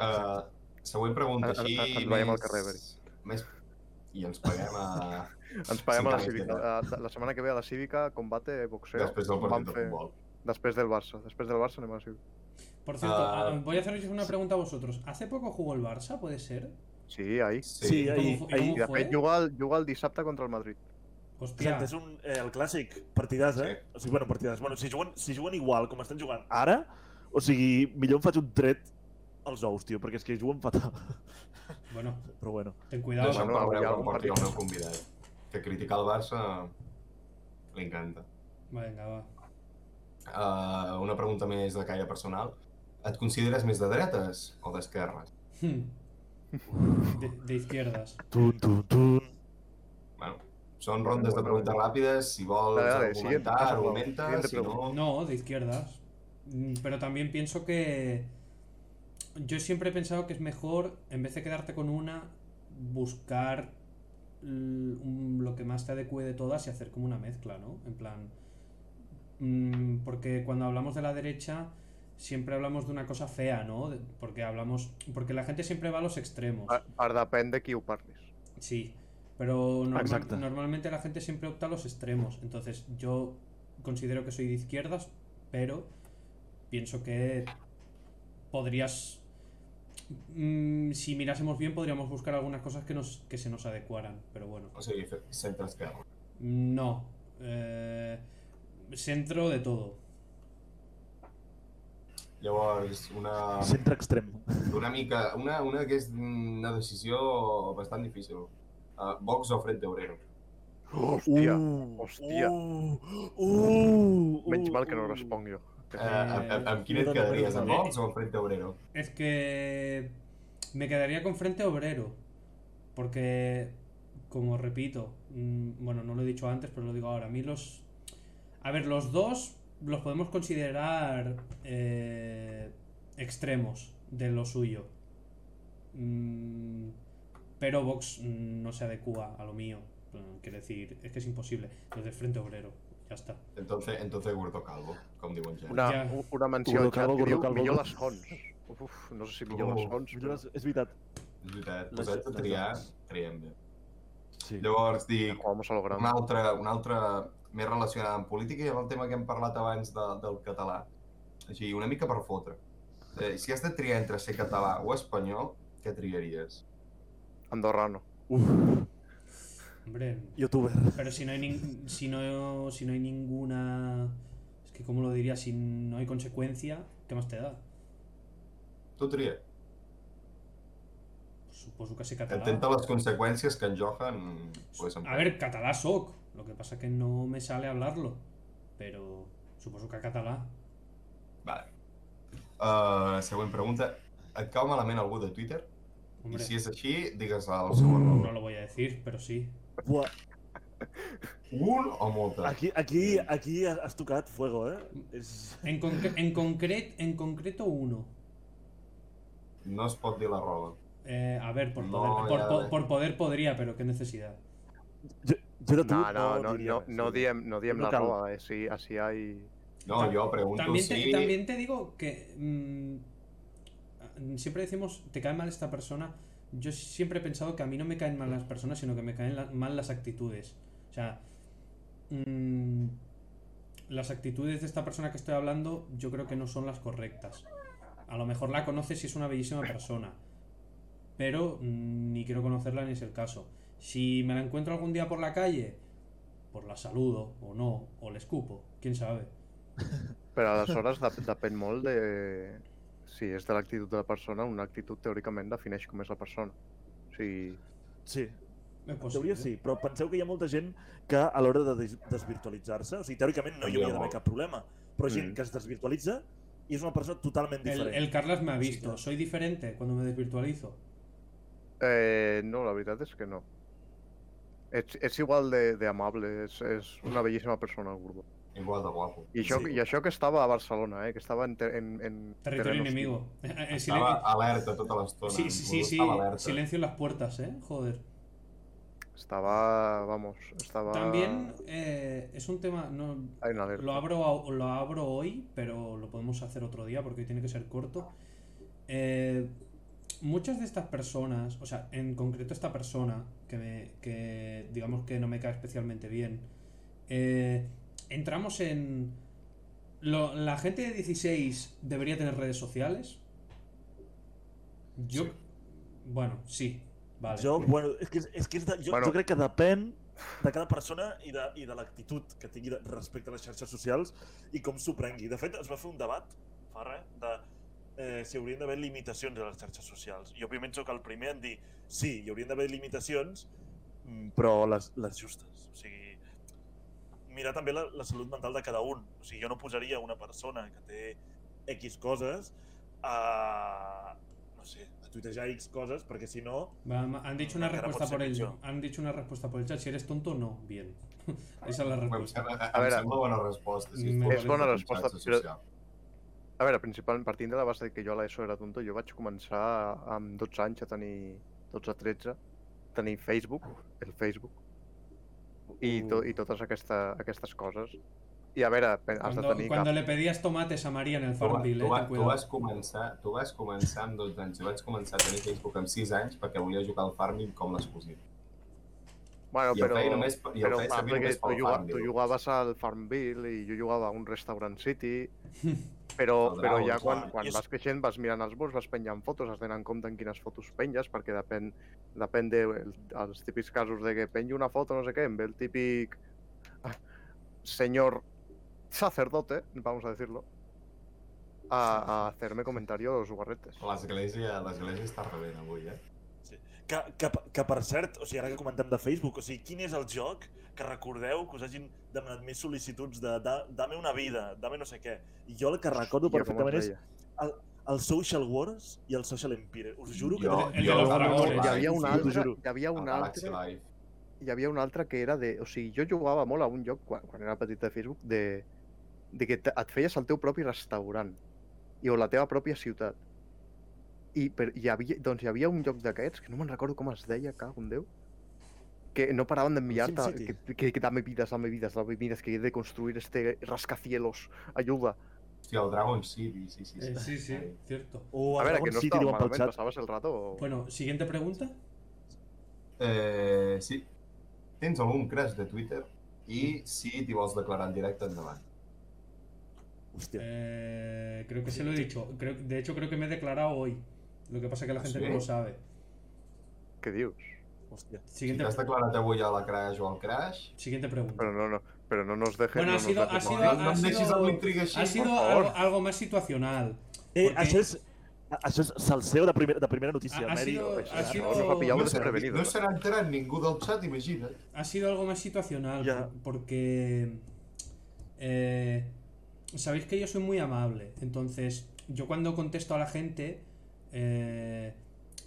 S3: Uh, següent pregunta,
S2: Ens-
S3: així...
S2: ens veiem al carrer, Beri.
S3: Més... I ens paguem a...
S2: Ens paguem a la
S3: Sí,
S2: Cívica.
S3: clar.
S2: eh, La setmana que ve a la Cívica, combate, boxeo.
S3: Després del
S2: vam
S3: partit de
S2: fer-
S3: futbol.
S2: Després del Barça. Després del Barça anem a la Cívica.
S4: por cierto,
S3: Ah.
S4: a- voy a haceros una pregunta a vosotros. ¿Hace poco jugó el Barça, puede ser?
S2: Sí, ahí.
S1: Sí,
S3: Sí.
S1: ahir,
S4: fu-
S1: ahir,
S2: I de
S4: Fue?
S2: fet, juga el, juga el dissabte contra el Madrid.
S4: Hostia.
S1: Exacte, és un, eh, el clàssic, partidàs, eh? O sigui, bueno, partidàs. Bueno, si juguen, si juguen igual com estan jugant ara, o sigui, millor em faig un tret als ous, tio, perquè és que juguen fatal.
S4: Bueno,
S1: Però bueno.
S4: ten
S3: Ja
S4: cuidado.
S3: ho
S2: bueno, hi ha
S3: veureu quan
S2: algun
S3: porti el
S2: partit.
S3: meu convidat. Que criticar el Barça li encanta.
S4: Venga, va.
S3: Uh, una pregunta més de caire personal. Et consideres més de dretes o d'esquerres?
S4: De, de izquierdas.
S1: Tun, tun, tun.
S3: Bueno, són rondes de preguntes ràpides, si vols
S2: Dale, dale, siguiente,
S3: argumentar,
S2: passa, Pau.
S3: argumenta,
S2: Siguiente
S3: si no...
S4: No, de izquierdas. Mm, Pero también pienso que. Yo siempre he pensado que es mejor, en vez de quedarte con una, buscar l- un- lo que más te adecue de todas y hacer como una mezcla, ¿no? En plan. mm, Porque cuando hablamos de la derecha, siempre hablamos de una cosa fea, ¿no? De- Porque hablamos. Porque la gente siempre va a los extremos.
S2: Per, per depèn de qui ho parlis.
S4: Sí, pero normal-
S1: Exacto.
S4: normalmente la gente siempre opta a los extremos. Entonces yo considero que soy de izquierdas, pero pienso que podrías... mm, si mirásemos bien, podríamos buscar algunas cosas que, nos, que se nos adecuaran, pero bueno.
S3: O sigui, fe- centre-esquerra.
S4: No. eh, centro de todo.
S3: Llavors, una,
S2: Ah.
S1: Centre extrem.
S3: una mica... Una, una que és una decisió bastant difícil. Uh, Vox o Frente Obrero.
S2: Hòstia,
S1: Uh,
S2: hòstia.
S1: Uh, uh, uh,
S2: menys mal que
S1: uh.
S2: no
S1: Eh,
S2: responc jo.
S3: Uh, amb, amb, amb quin et
S1: Frente Obrero
S3: quedaries, amb
S1: també.
S3: Vox o amb Frente Obrero?
S4: Es que me quedaría con Frente Obrero, porque, como repito, mm, bueno, no lo he dicho antes, pero lo digo ahora, a mí los... A ver, los dos los podemos considerar eh, extremos de lo suyo. Mm, Pero Vox mm, no se adecua a lo mío. Mm, Quiero decir, es que es imposible. Desde Frente Obrero, ya está.
S3: Entonces, entonces Gordo Calvo, com diuen ja.
S2: Una,
S4: Ja.
S2: u- una menció
S1: Gordo
S2: al xat
S1: Calvo,
S2: que
S1: Gordo
S2: diu
S1: Calvo.
S2: millor les hons. Uf, no sé si millor
S3: Oh,
S2: les hons.
S1: Millor
S2: Però...
S1: les- És veritat.
S3: És veritat,
S1: Les-
S3: posats a
S1: les
S3: triar,
S1: dones.
S3: triem bé.
S1: Sí.
S3: Llavors dic,
S2: Vamos a lo
S3: una
S2: grande.
S3: altra, una altra més relacionada amb política i amb el tema que hem parlat abans de, del català. Així, una mica per fotre. Eh, si has de triar entre ser català o espanyol, què triaries?
S2: Andorrano.
S1: Uf,
S4: Hombre,
S1: youtuber.
S4: Pero si no hay nin- si no, si no hay ninguna. Es que cómo lo diría, si no hay consecuencia, ¿qué más te da?
S3: Tu tria.
S4: Pues Supongo que se catalá.
S3: Intenta les conseqüències que en Johan... Pues,
S4: A ver, catalá soc. Lo que pasa que no me sale hablarlo. Pero supongo que catalá.
S3: Vale. Uh, següent pregunta. Et cau malament algú de Twitter?
S4: Hombre,
S3: I si és així, digues el seu arroba.
S4: no lo voy a decir, pero sí.
S1: Buah,
S3: Un o molta?
S1: aquí, aquí, aquí has tocat fuego, eh? És...
S4: En, concre- en, concret en concreto uno.
S3: No es pot dir la roba.
S4: Eh, a ver, por
S3: No,
S4: poder, por,
S3: ya
S4: po-
S3: ves.
S4: por poder podría, pero qué necesidad.
S1: Jo, jo de tu
S2: No, no, no,
S1: diria
S2: no,
S1: res.
S2: no diem, no diem
S1: No
S2: la
S1: cal.
S2: roba, eh? Si, si hay...
S3: No,
S4: Ta-
S3: jo pregunto
S4: También te,
S3: si...
S4: también te digo que mm, siempre decimos, te cae mal esta persona. Yo siempre he pensado que a mí no me caen mal las personas, sino que me caen la- mal las actitudes. O sea, mm, las actitudes de esta persona que estoy hablando yo creo que no son las correctas. A lo mejor la conoces y es una bellísima persona, pero mm, ni quiero conocerla ni es el caso. Si me la encuentro algún día por la calle, pues la saludo o no, o le escupo, quién sabe.
S2: Però aleshores dep depèn molt de... Si és de l'actitud de la persona, una actitud teòricament defineix com és la persona. O sigui,
S1: Sí,
S4: Es
S1: en
S4: posible.
S1: teoria sí, però penseu que hi ha molta gent que a l'hora de des- desvirtualitzar-se, o sigui, teòricament no hi hauria d'haver cap problema, però gent
S2: Mm.
S1: que es desvirtualitza i és una persona totalment
S4: El,
S1: diferent.
S4: el Carlas me ha
S1: Sí,
S4: visto,
S1: claro.
S4: soy diferente cuando me desvirtualizo.
S2: eh, no, la veritat és que no. Ets, ets igual de, de amable, és, és una bellíssima persona, el Gordó.
S3: Igual de guapo.
S2: I això,
S1: Sí.
S2: I això que estava a Barcelona, eh? Que estava en... Ter en, en
S4: Territorio
S2: terreno hostil.
S4: enemigo. Eh, eh, silen-
S3: Estava alerta tota l'estona.
S4: Sí, sí, sí, sí,
S3: Estava alerta.
S4: silencio en las puertas, ¿eh? Joder.
S2: Estava, vamos, estava...
S4: También eh, es un tema, no,
S2: Ai, una alerta.
S4: lo abro, a- lo abro hoy, pero lo podemos hacer otro día porque hoy tiene que ser corto. Eh, muchas de estas personas, o sea, en concreto esta persona, que, me, que digamos que no me cae especialmente bien, eh, entramos en... lo- la gente de 16 debería tener redes sociales. Yo...
S3: Sí.
S4: Bueno, sí. Vale.
S1: Jo, bueno, és que, és que és de, jo,
S2: Bueno.
S1: bueno. jo crec que depèn de cada persona i de, i de l'actitud que tingui de- respecte a les xarxes socials i com s'ho prengui. De fet, es va fer un debat fa res de eh, si haurien d'haver limitacions a les xarxes socials. I òbviament sóc el primer en dir sí, hi haurien d'haver limitacions, mm, però les, les justes. O sigui, mirar també la, la salut mental de cada un. O sigui, jo no posaria una persona que té X coses a, no sé, a tuitejar X coses, perquè si no,
S4: Va, ma- han dicho una
S1: Me queda por
S4: respuesta por el
S1: servicio.
S4: han dicho una respuesta por el chat. Si eres tonto, no. Bien. Esa es la
S3: Em
S4: respuesta.
S3: sembla,
S2: A
S3: em
S2: veure.
S3: sembla bona resposta. Si
S4: És
S3: fos
S2: bona
S3: en
S2: resposta,
S3: xarxa
S2: però-
S3: social.
S2: A veure, principalment partint de la base que jo a l'ESO era tonto, jo vaig començar amb 12 anys a tenir 12-13, tenir Facebook, el Facebook, i, to,
S3: Uh.
S2: i totes aquesta, aquestes coses. I a veure, pe- has de
S4: Cuando,
S2: tenir
S4: cuando
S2: cap...
S4: le pedías tomates a María en el
S3: Tu, va-
S4: Farmville,
S3: tu,
S4: eh,
S3: va,
S4: ten
S3: tu,
S4: cuidado.
S3: vas començar, tu vas començar amb 12 anys. Jo vaig començar a tenir Facebook amb 6 anys perquè volia jugar al farming com les cosines.
S2: Bueno,
S3: I el
S2: però,
S3: feia només, per- i el
S2: però
S3: feia
S2: parla
S3: servir
S2: que
S3: només
S2: tu,
S3: pel
S2: juga, tu
S3: farming.
S2: jugaves al Farmville i jo jugava a un Restaurant City, però,
S3: Al
S2: però
S3: Dragon,
S2: ja quan,
S1: clar.
S2: quan
S1: I és-
S2: vas creixent vas mirant els murs, vas penjant fotos, has d'anar en compte en quines fotos penges, perquè depèn, depèn de, els típics casos de que penjo una foto, no sé què, em ve el típic senyor sacerdote, vamos a decirlo, a, a hacerme comentarios guarretes.
S3: L'església l'església està rebent avui, eh?
S1: Que, que, que per cert, o sigui, ara que comentem de Facebook, o sigui, quin és el joc que recordeu que us hagin demanat més sol·licituds de, de dame una vida, dame no sé què. I jo el que recordo
S2: Hòstia, com
S1: perfectament
S2: es
S1: és
S2: reia.
S1: el, el Social Wars i el Social Empire. Us juro que...
S3: Jo-
S1: també-
S4: el de los
S3: el
S4: dragones.
S2: Hi havia un
S1: Sí, t'ho
S2: altre,
S1: juro.
S2: hi havia un
S3: el Galaxy
S2: altre
S3: Life.
S2: hi havia un altre que era de... O sigui, jo jugava molt a un joc, quan, quan era petit de Facebook, de, de que te- et feies el teu propi restaurant i o la teva pròpia ciutat. I per, hi havia, doncs hi havia un joc d'aquests, que no me'n recordo com es deia, cago en Déu, que no paraven d'enviar-te,
S1: SimCity.
S2: que, que, que dame vides, dame vides, dame vides, que he de construir este rascacielos, ajuda.
S3: Hòstia, el Dragon City, sí, sí, sí.
S4: Eh, sí, sí, cierto.
S1: O
S2: a
S1: el
S2: veure,
S1: Dragon
S2: que no
S1: City,
S2: estava
S1: diuen pel
S2: malament,
S1: xat.
S2: passaves el rato... O...
S4: Bueno, siguiente pregunta.
S3: Eh, sí. Tens algun crash de Twitter? I si t'hi vols declarar en directe, endavant.
S1: Hòstia.
S4: Eh, creo que se lo he dicho. Creo- de hecho, creo que me he declarado hoy. Lo que pasa es que la
S3: ¿Ah,
S4: gente
S3: sí?
S4: no lo sabe.
S2: Què dius?
S1: Hòstia.
S4: eh,
S3: Si
S4: Siguiente,
S3: t'has declarat avui a la crash o al crash...
S4: siguiente pregunta.
S2: Però no, no, però no nos dejes...
S4: Bueno,
S2: no
S4: ha
S2: nos
S4: sido-
S2: dejes
S4: ha
S2: mal.
S4: sido-
S3: no em deixis
S4: sido-
S3: amb l'intriga així,
S4: Ha sido
S3: per
S4: algo,
S3: favor.
S4: algo más situacional.
S1: Eh,
S4: Porque-
S1: això és... Això és salseo de, primer, de primera notícia,
S4: Ha- ha
S1: Meri.
S4: sido-
S1: o-
S4: ha sido-
S2: No, no va pillar
S3: No
S2: un
S3: se,
S2: desprevenido.
S3: no se n'ha enterat ningú del xat, imagina't.
S4: Ha sido algo más situacional.
S1: Ya.
S4: por- Porque. eh, Sabéis que yo soy muy amable. Entonces, yo cuando contesto a la gente. eh,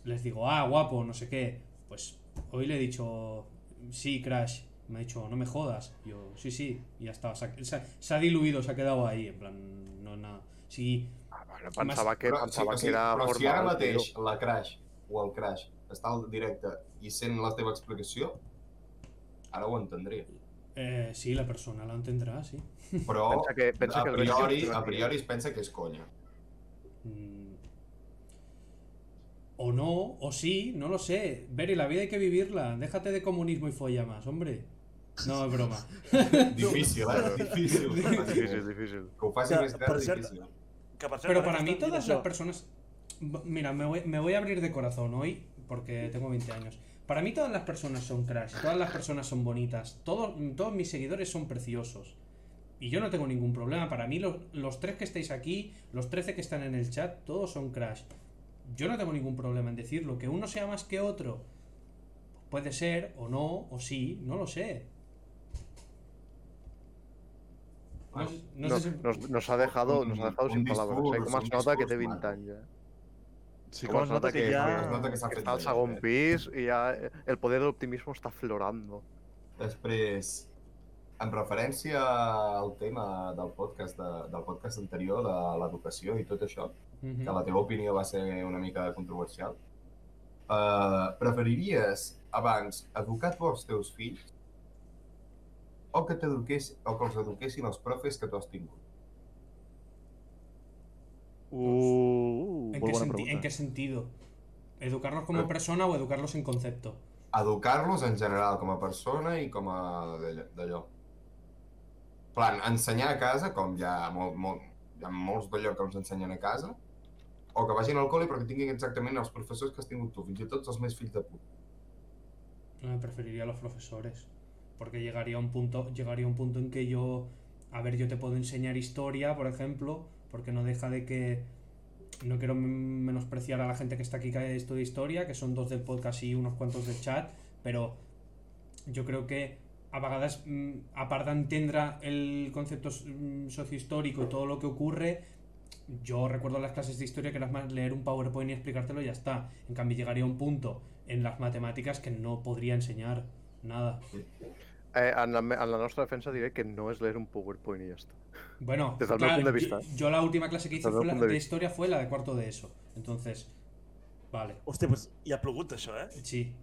S4: les digo, ah, guapo, no sé qué. Pues hoy le he dicho. Sí, Crash. Me ha dicho, no me jodas. Yo, sí, sí. Y ya estaba. Se, ha- se ha- se ha diluido, se ha quedado ahí. En plan, no, nada. Sí,
S2: Ah, bueno, pensava que,
S3: Però,
S2: pensava
S3: sí,
S2: que era
S3: però si ara
S2: formal,
S3: mateix
S2: tio.
S3: la crash o el crash està al directe i sent la teva explicació, ara ho entendria.
S4: eh, sí, la persona la entenderá, sí.
S3: Però
S2: Pensa que- pensa
S3: a,
S2: que el
S3: priori,
S2: Benfica-
S3: a priori es pensa que és conya.
S4: Mm. O no, o sí, no lo sé. Beri, la vida hay que vivirla. Déjate de comunismo y folla más, hombre. No, es broma.
S3: Difícil, eh? Difícil.
S2: Difícil, difícil.
S3: Que ho faci
S1: Que,
S3: més gran,
S1: per cert,
S3: difícil.
S1: Que per cert,
S4: Pero
S1: ara
S4: para
S1: que
S4: mí
S1: estàs
S4: todas
S1: dient
S4: las
S1: això-
S4: personas... B- Mira, me voy, me voy a abrir de corazón hoy porque tengo 20 años. Para mí todas las personas son crash, todas las personas son bonitas, todos, todos mis seguidores son preciosos. Y yo no tengo ningún problema. Para mí los, los tres que estáis aquí, los 13 que están en el chat, todos son crash. Yo no tengo ningún problema en decirlo. Que uno sea más que otro, puede ser, o no, o sí, no lo sé. No, sé- no
S2: No,
S4: sé si-
S2: nos, nos ha dejado, nos ha dejado
S3: Un
S2: sin palabres.
S3: discurs,
S2: Eh? Com
S3: un
S2: es nota que té
S3: discurs
S2: 20
S3: maco.
S2: anys, eh?
S1: Sí,
S2: Com
S1: com
S2: es
S1: es nota que ja...
S2: que-
S3: Es nota que s'ha
S2: Que
S3: fet
S2: està al
S3: vella,
S2: segon
S3: eh?
S2: pis i ja el poder de l'optimisme està florando.
S3: Després, en referència al tema del podcast, de, del podcast anterior, de l'educació i tot això,
S4: Ujú.
S1: Mm.
S3: que la teva opinió va ser una mica controversial. Uh, preferiries abans educar tu els teus fills o que, t'eduqués- o que els eduquessin els profes que tu has tingut?
S1: Uh,
S4: ¿En
S1: molt
S4: qué,
S1: bona
S4: senti- ¿En
S2: eh.
S4: qué
S1: pregunta.
S4: sentido? ¿Educarlos como
S3: Eh.
S4: persona o educarlos en concepto?
S3: Educar-los en general com a persona i com a d'allò- d'allò. plan, ensenyar a casa, com hi ha, molt, molt, hi ha molts d'allò que els ensenyen a casa, o que vagin al col·le però que tinguin exactament els professors que has tingut tu, fins i tot els més fills de puta.
S4: Eh, preferiría a los profesores. Porque llegaría un punto, llegaría un punto en que yo. A ver, yo te puedo enseñar historia, por ejemplo, porque no deja de que. No quiero men- menospreciar a la gente que está aquí que estudia historia, que son dos del podcast y unos cuantos del chat, pero yo creo que a vegades, mm, a part d'entendre el concepto mm, sociohistórico y todo lo que ocurre, yo recuerdo las clases de historia que era más leer un PowerPoint y explicártelo y ya está. En cambio, llegaría un punto en las matemáticas que no podría enseñar nada.
S2: Eh, en, la, me- en la nostra defensa diré que no és leer un PowerPoint i ja està.
S4: Bueno,
S2: Desde el meu punt de
S4: yo-
S2: vista.
S4: Yo, la última clase que hice
S2: Desde el
S4: fue la-
S2: punto de
S4: de
S2: vista.
S4: historia fue la de cuarto de eso. Entonces, vale,
S1: Hòstia, pues, hi ha plogut, això, eh?
S4: sí.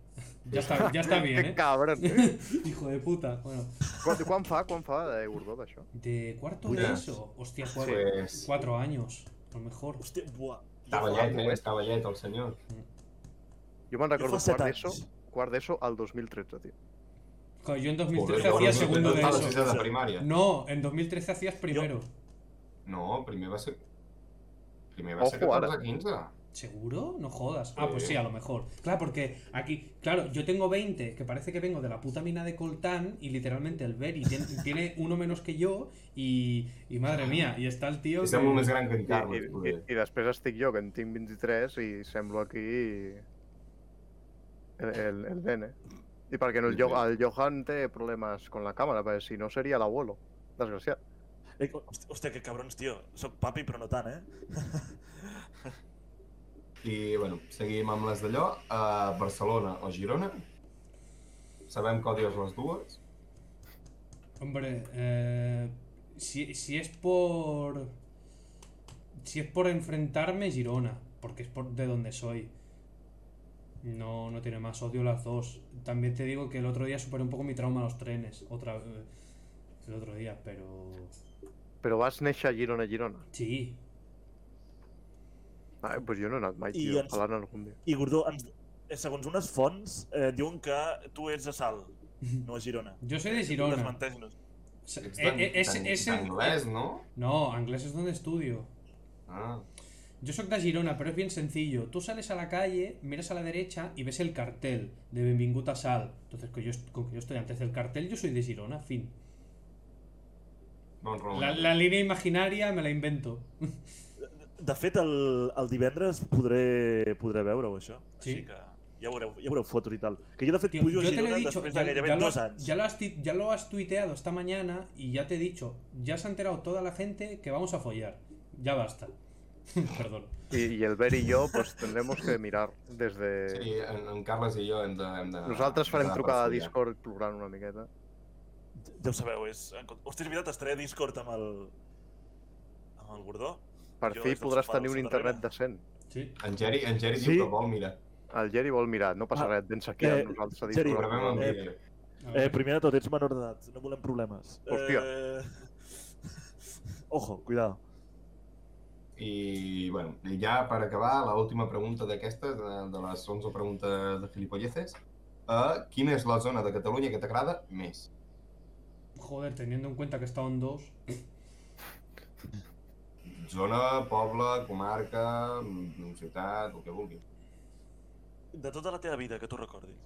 S4: Ya está, ya está bien,
S2: Que
S4: ¿eh?
S2: cabron, eh?
S4: Hijo de puta. Bueno,
S2: Quan, quan fa, quan fa eh, de Gordó d'això?
S4: de cuarto
S3: Mira.
S4: de eso, hostia, cuatro,
S3: Pues,
S4: cuatro años, a lo mejor.
S1: Hòstia, buah.
S3: estava llet, eh?
S2: dues.
S3: Estava llet, el senyor.
S2: Jo me'n recordo
S1: set
S2: quart d'ESO,
S1: anys.
S2: quart d'ESO al 2013, tio.
S4: Joder, Yo en
S3: Joder,
S4: 2013
S3: jo
S4: hacía
S3: recordo que
S4: segundo de
S3: estava a
S4: eso.
S3: sisè de primària.
S4: No, en 2013 hacías primero.
S3: No, primer va ser... Primer va
S2: Ojo,
S3: ser
S2: ara.
S3: 14 15.
S4: ¿Seguro? No jodas. Ah, pues
S3: Sí.
S4: sí, a lo mejor. Claro, porque aquí, claro, yo tengo 20, que parece que vengo de la puta mina de Coltán y literalmente el Berry tiene, tiene uno menos que yo y, y madre mía, y está el tío...
S3: I
S4: que-
S3: semblo més gran que en
S2: I, i,
S3: Carles,
S2: i,
S3: poder.
S2: I després estic jo, que en tinc 23 i semblo aquí el, el, el nene. I perquè no el, jo, el Johan té problemes con la càmera, perquè si no seria l'abuelo, desgraciat.
S1: Eh, host- Hòstia, que cabrons, tio. Soc papi, però no tant, eh?
S3: I, bueno, seguim amb les d'allò. A Barcelona o Girona. Sabem que odies les dues.
S4: Hombre, eh, si, si es por... Si es por enfrentarme, Girona, porque es por de donde soy. No, no tiene más odio las dos. También te digo que el otro día superé un poco mi trauma a los trenes, otra eh, el otro día, pero...
S2: Però vas néixer a Girona, Girona.
S4: Sí,
S2: Ah, doncs jo no he anat mai,
S1: I
S2: tio.
S1: ens-
S2: Ojalà en algun dia.
S1: I, Gordó, ens, eh, segons unes fonts, eh, diuen que tu ets de Salt, no a Girona.
S4: yo soy de Mhm. Girona.
S1: Desmenteix-nos.
S4: O sea,
S3: Ets
S4: eh, eh,
S3: d'ang-
S4: es-
S3: d'ang-
S4: es el-
S3: d'anglès, no?
S4: No, inglés es donde estudio.
S3: Ah,
S4: Yo soy de Girona, pero es bien sencillo. Tú sales a la calle, miras a la derecha y ves el cartel de Benvinguta Sal. Entonces, con, yo, est- con que yo estoy antes del cartel, yo soy de Girona, fin.
S3: bon raó.
S4: La, la línea imaginaria me la invento.
S1: De fet, el, el divendres podré, podré veure-ho, això.
S4: Sí.
S1: Així que ja veureu, ja veureu fotos i tal. Que jo, de fet,
S4: Tío,
S1: pujo
S4: yo
S1: a
S4: te lo
S1: Girona
S4: he dicho,
S1: després
S4: ya,
S1: de gairebé
S4: ya lo
S1: dos
S4: has,
S1: anys.
S4: ya lo has tuit- ya lo has tuiteado esta mañana y ya te he dicho, ya se ha enterado toda la gente que vamos a follar. Ya basta. Perdón.
S2: I, i el Ber i jo, pues, tendremos que mirar des de... Sí.
S3: Sí, en, en Carles i jo hem de... Hem de
S2: Nosaltres farem
S3: hem de
S2: trucada a
S3: perseguir.
S2: Discord plorant una miqueta.
S1: Ja ho sabeu, és... en compte- Hòstia, és veritat, estaré a Discord amb el... amb el Gordó.
S2: Per
S1: Jo
S2: fi
S1: des del
S2: podràs
S1: sofà del
S2: tenir un
S1: sota
S2: internet
S1: darrere.
S2: decent.
S4: Sí.
S3: En Geri, en Geri
S2: Sí?
S3: diu que vol mirar.
S2: El Geri vol mirar, no passa
S1: Ah,
S2: res, vens aquí eh,
S1: eh,
S2: amb nosaltres a
S1: Geri,
S3: Ho
S1: Sí,
S2: Discord.
S3: gravem en
S1: eh,
S3: vídeo.
S4: A
S1: Eh,
S4: ver.
S1: primer de tot, ets menor d'edat, no volem problemes.
S2: Hòstia.
S1: Eh... Ojo, cuidado.
S3: I, bueno, i ja per acabar, la última pregunta d'aquestes, de, de les 11 preguntes de gilipolleces, uh, quina és la zona de Catalunya que t'agrada més?
S4: Joder, teniendo en cuenta que he estado en dos.
S3: Zona, poble, comarca, mm, ciutat, el que vulgui.
S1: De tota la teva vida, que tu recordis.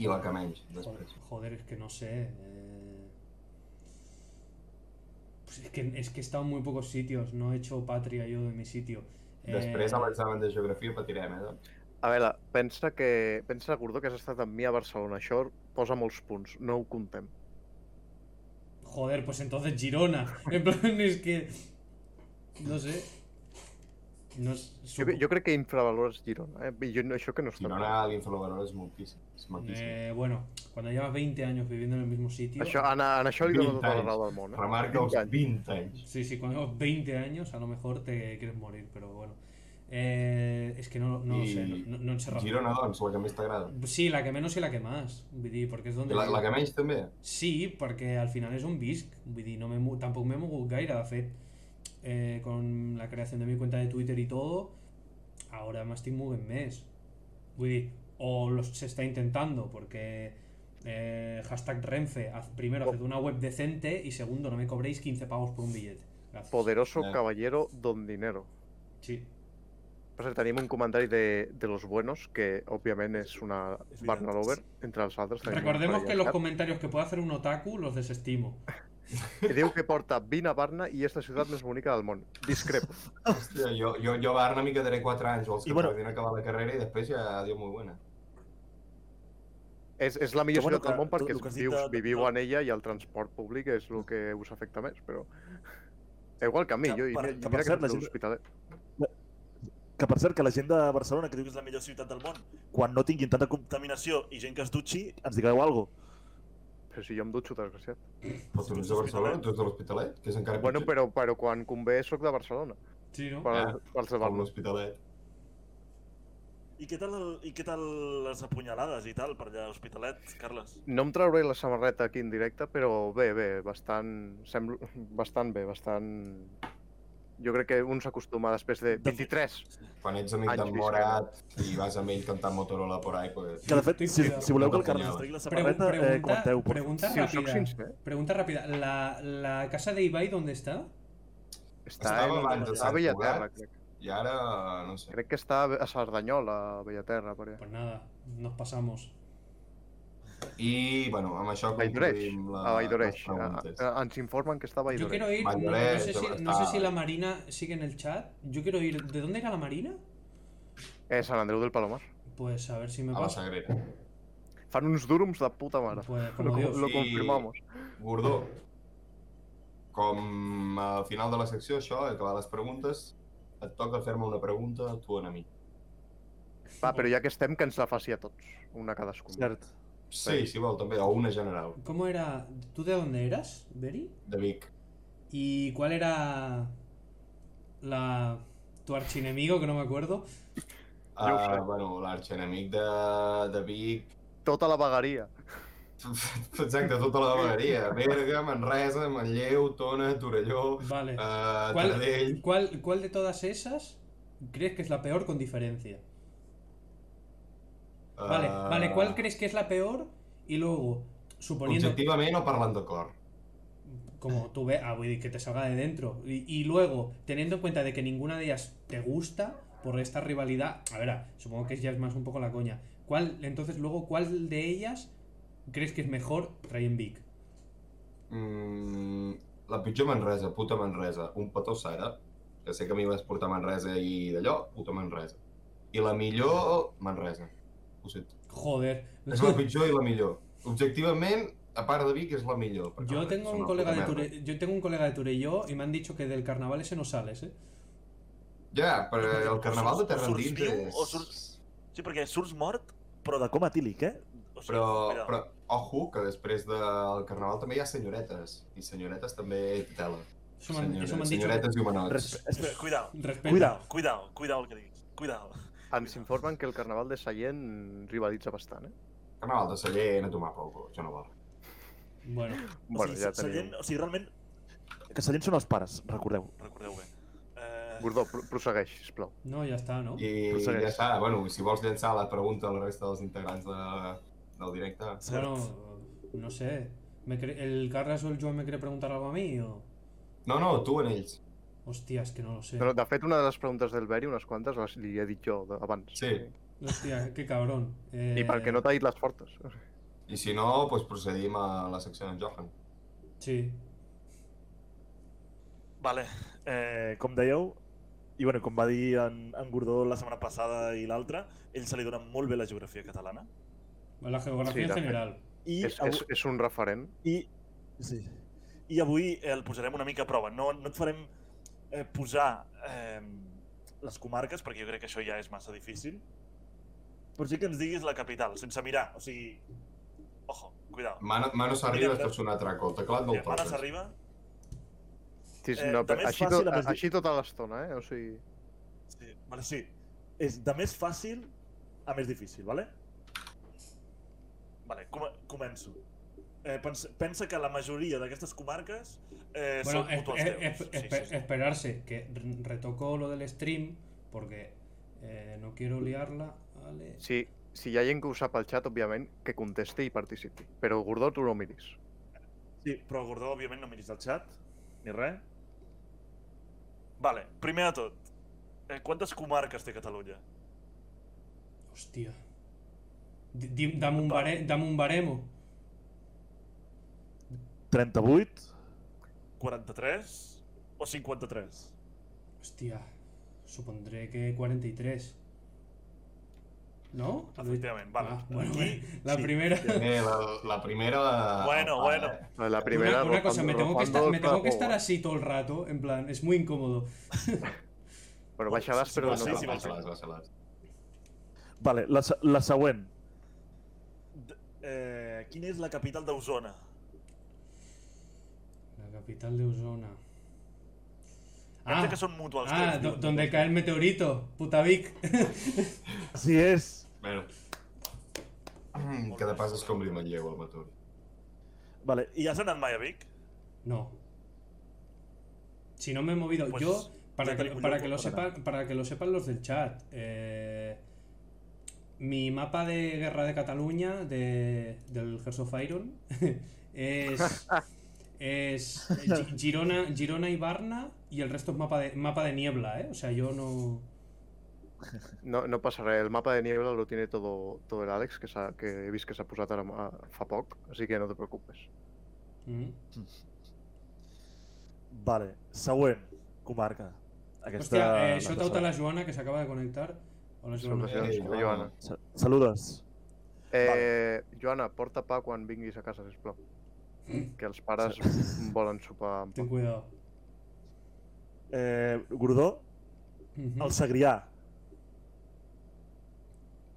S3: I la que menys,
S4: Joder,
S3: després.
S4: joder, es que no sé. eh. Pues es que, es que he estado en muy pocos sitios, no he hecho patria yo de mi sitio. Eh,
S3: Després, a l'examen de geografia, patirem, eh? doncs?
S2: A veure, pensa que... Pensa, Gordó, que has estat amb mi a Barcelona. Això posa molts punts, no ho contem.
S4: Joder, pues entonces Girona. En plan, es que. No sé. No es-
S2: Jo,
S4: supo-
S2: jo crec que infravalores Girona, eh? I Jo, no- això que no està bé.
S3: Girona, l'infravalor és moltíssim. És maquíssim.
S4: Eh, bueno, cuando llevas 20 años viviendo en el mismo sitio.
S2: Això, en, en això li dono
S3: 20
S2: tota la
S3: anys.
S2: raó del món, eh?
S3: Remarca els
S2: 20 anys.
S3: 20 anys.
S4: Sí, sí, cuando llevas 20 años a lo mejor te quieres morir, pero bueno. Eh, es que no, no lo
S3: Y
S4: sé, no, no, no sé razonar.
S3: Girona, doncs, la que més t'agrada.
S4: Sí, la que menos y la que más, vull dir, porque es donde...
S3: I la, la que menys, també?
S4: Sí, perquè al final és un disc, vull dir, no m'he mo- tampoc m'he mogut gaire, de fet, eh, con la creación de mi cuenta de Twitter y todo, ahora me estoy moviendo més. Vull dir, o los, se está intentando, porque eh, hashtag Renfe, haz- primero, haced una web decente y segundo, no me cobréis 15 pavos por un billete. Gracias.
S2: Poderoso
S3: Eh.
S2: caballero don dinero.
S4: Sí.
S2: Per cert, tenim un comentari de, de Los Buenos, que òbviament és una
S1: És veritat.
S2: Barna Lover, entre els altres. tenim un
S4: Recordemos
S2: parell
S4: que los
S2: de-
S4: comentarios que pueda hacer un otaku los desestimo.
S2: Que diu que porta 20 a Barna i és la ciutat més bonica del món. Discrepo.
S3: Hòstia, jo, jo, jo a Barna m'hi quedaré 4 anys, o els
S1: I
S3: que
S1: bueno-
S3: bueno... acabar la carrera i després ja diu molt bona.
S2: És, és la millor
S1: Que bueno,
S2: ciutat del
S1: que
S2: món perquè
S1: tot el que has dit
S2: vius,
S1: de-
S2: viviu
S1: del-
S2: en ella i el transport públic és el que us afecta més, però... Igual que a mi,
S1: Que
S2: jo, i
S1: per-
S2: mira,
S1: que
S2: i
S1: per
S2: mira que
S1: cert, la
S2: soc de
S1: gent-
S2: l'Hospitalet.
S1: Que, per cert, que la gent de Barcelona, que diu que és la millor ciutat del món, quan no tinguin tanta contaminació i gent que es dutxi, ens digueu alguna cosa.
S2: Però si jo em dutxo, desgraciat.
S3: Però tu no ets de Barcelona, tu ets de l'Hospitalet, que és encara
S2: Bueno, però, però quan convé sóc de Barcelona.
S4: Sí, ¿no?
S2: Per,
S3: Ah.
S2: pels de
S3: Com
S2: Barna.
S3: l'Hospitalet.
S1: I què tal, el, I què tal les apunyalades i tal per allà a Hospitalet, Carles?
S2: No em trauré la samarreta aquí en directe, però bé, bé, bastant... Semblo... Bastant bé, bastant... Jo crec que un s'acostuma després de
S1: De-
S2: 23.
S3: Quan ets amic
S2: Anys
S3: d'en Morat i vas amb ell cantant Motorola por ahí, pues...
S1: Que de fet, si, si voleu que el Carles
S3: Apunyades.
S1: es tregui la
S4: Pregu-
S1: samarreta, eh, comenteu. porfa.
S4: pregunta
S2: Si us soc
S4: rápida.
S2: sincer,
S4: Pregunta rápida. ¿La, la casa de Ibai dónde está?
S2: està,
S3: Estava
S2: en,
S3: abans de
S2: a
S3: Sant
S2: Bellaterra,
S3: Cugat,
S2: crec.
S3: I ara, no sé.
S2: Crec que està a Cerdanyola, a Bellaterra, per allà.
S4: Pues nada, nos pasamos.
S3: I, bueno, amb això
S2: A Valldoreig.
S3: concluïm la,
S2: A Valldoreig.
S3: les preguntes.
S2: A- a- Ens informen que està a
S4: Yo
S2: Valldoreig.
S4: quiero ir, no, no
S3: Valladolid,
S4: sé si, no
S3: está-
S4: sé si la Marina sigue en el chat. Yo quiero ir, ¿de dónde era la Marina?
S2: Eh, Sant Andreu del Palomar.
S4: Pues a ver si me
S2: ah.
S3: A la
S4: pasa.
S3: Sagrera.
S2: Fan uns durums de puta mare.
S4: Pues
S2: Lo,
S4: como Dios.
S2: lo
S3: Sí.
S2: confirmamos.
S3: Gordó, com al final de la secció, això, he acabat les preguntes, et toca fer-me una pregunta tu en a mi.
S2: Va, però ja que estem, que ens la faci a tots. Una cadascun.
S1: Cert.
S3: Sí, si vol, també, o una general,
S4: ¿Cómo era? ¿Tú de dónde eras, Beri?
S3: de Vic.
S4: ¿Y cuál era la tu archienemigo que no me acuerdo?
S2: Ja ho sé.
S3: Uh, bueno, l'arxenemic de, de Vic,
S2: Tota la vegueria.
S3: exacte, tota la vegueria. Berga, Manresa, Manlleu, Tona, Torelló, uh,
S4: Vale.
S3: Tardell...
S4: ¿Cuál, cuál, cuál de todas esas crees que es la peor con diferencia? Vale,
S3: eh,
S4: vale,
S2: Ah.
S4: ¿cuál crees que es la peor? Y luego, suponiendo
S3: Objectivament o parlant de cor?
S4: como tú ves, ah, voy a decir que te salga de dentro. Y, y luego, teniendo en cuenta de que ninguna de ellas te gusta por esta rivalidad, a ver, ah, supongo que ya es más un poco la coña. ¿Cuál, entonces, luego, cuál de ellas crees que es mejor Ryan Big?
S3: Mm, la pitjor Manresa, puta Manresa, un petó Sara, que sé que a mi vas portar a Manresa i d'allò, puta Manresa. I la millor, Manresa. Ho sento.
S4: Joder.
S3: És la pitjor i la millor. Objectivament, a part de Vic, és la millor. perquè
S4: Yo
S3: la
S4: tengo
S3: resta
S4: un
S3: és una
S4: colega de
S3: puta merda.
S4: Ture- yo tengo un colega de Turelló y me han dicho que del carnaval ese no sales, ¿eh?
S3: Ja, per el carnaval de Terra
S1: Surts
S3: Endins
S1: viu
S3: és...
S1: o surts- Sí, perquè surts mort, però de coma tílic, eh? O
S3: Però, però, ojo, que després del carnaval també hi ha senyoretes. I senyoretes també tela.
S4: Eso me han,
S3: Senyores,
S4: eso me han dicho.
S3: senyoretes i humanots.
S1: Respe- espera, cuidao,
S4: Respeto.
S1: cuidao, cuidao, cuidao el que diguis. Cuidao.
S2: Ens informen que el carnaval de Seient rivalitza bastant, eh?
S3: Carnaval de celler, a tomar poco, això no val.
S4: Bueno,
S2: Bueno,
S1: o sigui,
S2: ja
S1: Sallent-
S2: tenim...
S1: O sigui, realment, que Sallent són els pares, recordeu. Recordeu bé. Eh,
S2: Gordó, pro- prossegueix, sisplau.
S4: no, ya está, ¿no?
S3: I
S2: Prossegueix.
S3: ja està, bueno, si vols llançar la pregunta a la resta dels integrants de, del directe...
S1: cert.
S4: Bueno, no sé. ¿Me cre- ¿El Carras o el Joan me quiere preguntar algo a mí o...?
S3: No, no, tu en ells.
S4: Hostia, es que no lo sé.
S2: Però, de fet, una de les preguntes del Beri, unes quantes, les li he dit jo de- abans.
S3: Sí.
S4: Hostia, qué cabrón.
S2: I
S4: Eh,
S2: perquè no t'ha dit les fortes.
S3: I si no, doncs procedim a la secció d'en Johan.
S4: Sí.
S1: vale. Eh, com dèieu, i bueno, com va dir en, en Gordó la setmana passada i l'altra, ell se li dona molt bé la geografia catalana.
S4: La geografía
S2: Sí,
S4: en
S2: la-
S4: general.
S1: I,
S2: És,
S1: avu-
S2: és, és un referent.
S1: I, sí. I avui eh, el posarem una mica a prova. No, no et farem eh, posar eh, les comarques, perquè jo crec que això ja és massa difícil. Però sí que ens diguis la capital, sense mirar. O sigui, ojo, cuidao.
S3: Mano, mano s'arriba,
S1: Mira,
S3: es pot sonar traco, el teclat no el
S1: Mira, ara
S3: toques.
S1: s'arriba...
S2: Sí, sí,
S1: Eh,
S2: no,
S1: de
S2: però
S1: més
S2: així,
S1: fàcil,
S2: tot,
S1: a més-
S2: així tota l'estona, eh? O sigui...
S1: Sí, vale, sí. És de més fàcil a més difícil, vale? Vale, com començo. Eh, pensa, pensa que la majoria d'aquestes comarques eh,
S4: Bueno,
S1: són
S4: es-
S1: mutuals
S4: es-
S1: teus.
S4: es- espe- esperarse que re- retoco lo del stream porque eh, no quiero liarla. Vale.
S2: Sí, si hi ha gent que ho sap al xat, òbviament, que contesti i participi. Però, Gordó, tu no ho miris.
S1: Sí, però Gordó, òbviament, no miris el xat, ni res. Vale, primer de tot, eh, quantes comarques té Catalunya?
S4: Hostia. Di- di- Dame un, bare- dame un baremo.
S1: 38, 43 o 53?
S4: Hostia. Supondré que 43. ¿No?
S1: Efectivament, vale.
S4: Ah, bueno,
S1: Aquí,
S4: la
S1: sí.
S4: primera.
S3: Eh, la, la primera... Ah, eh, La...
S1: Bueno,
S3: la-
S1: bueno.
S2: La la primera...
S4: una, una cosa,
S2: Rojando-
S4: me tengo, que
S2: Rojando
S4: estar,
S2: el
S4: me tengo que
S2: trapo.
S4: estar así todo el rato, en plan, es muy incómodo.
S2: Bueno, baixaràs,
S1: Sí,
S2: però no
S1: sí,
S2: te'n
S1: sí,
S2: passis.
S3: Baixa-les, baixa-les.
S1: Vale, la, se- la següent. D eh, quina és la capital d'Osona?
S4: La capital de Osona.
S1: Pensa que són mutuals.
S4: ah,
S1: teus,
S4: do-
S1: diuen.
S4: donde cae el meteorito, puta Vic.
S1: Així és.
S3: Bueno. Mm, que de pas es com li manlleu al mató.
S1: Vale, i has anat mai a Vic?
S4: No. Si no me he movido,
S1: Pues,
S4: yo, para
S1: ya
S4: que,
S1: te digo
S4: para,
S1: yo,
S4: que lo
S1: para
S4: sepan, para que lo sepan los del chat, eh, mi mapa de guerra de Cataluña, de, del Hearts of Iron, es, Es eh, Gi- Girona, Girona y Varna y el resto es mapa de, mapa de niebla, ¿eh? O sea, yo no...
S2: No, no passa res, el mapa de niebla lo tiene todo, todo el Àlex, que, s'ha- que he vist que s'ha posat ara ma- fa poc, així que no te preocupes.
S4: Mm.
S1: Vale, següent comarca. Aquesta...
S4: Hòstia, eh,
S1: la
S4: shout out a
S1: tercera.
S4: la Joana que s'acaba de connectar. Hola Joana.
S2: Salutacions,
S3: Eh, Joana.
S2: Joana.
S1: Sa- Saludes.
S2: Eh, Joana, porta pa quan vinguis a casa, sisplau. Que els pares volen sopar amb pa.
S4: Ten cuidado.
S1: Eh, Gordó,
S4: Ujú.
S1: el Segrià.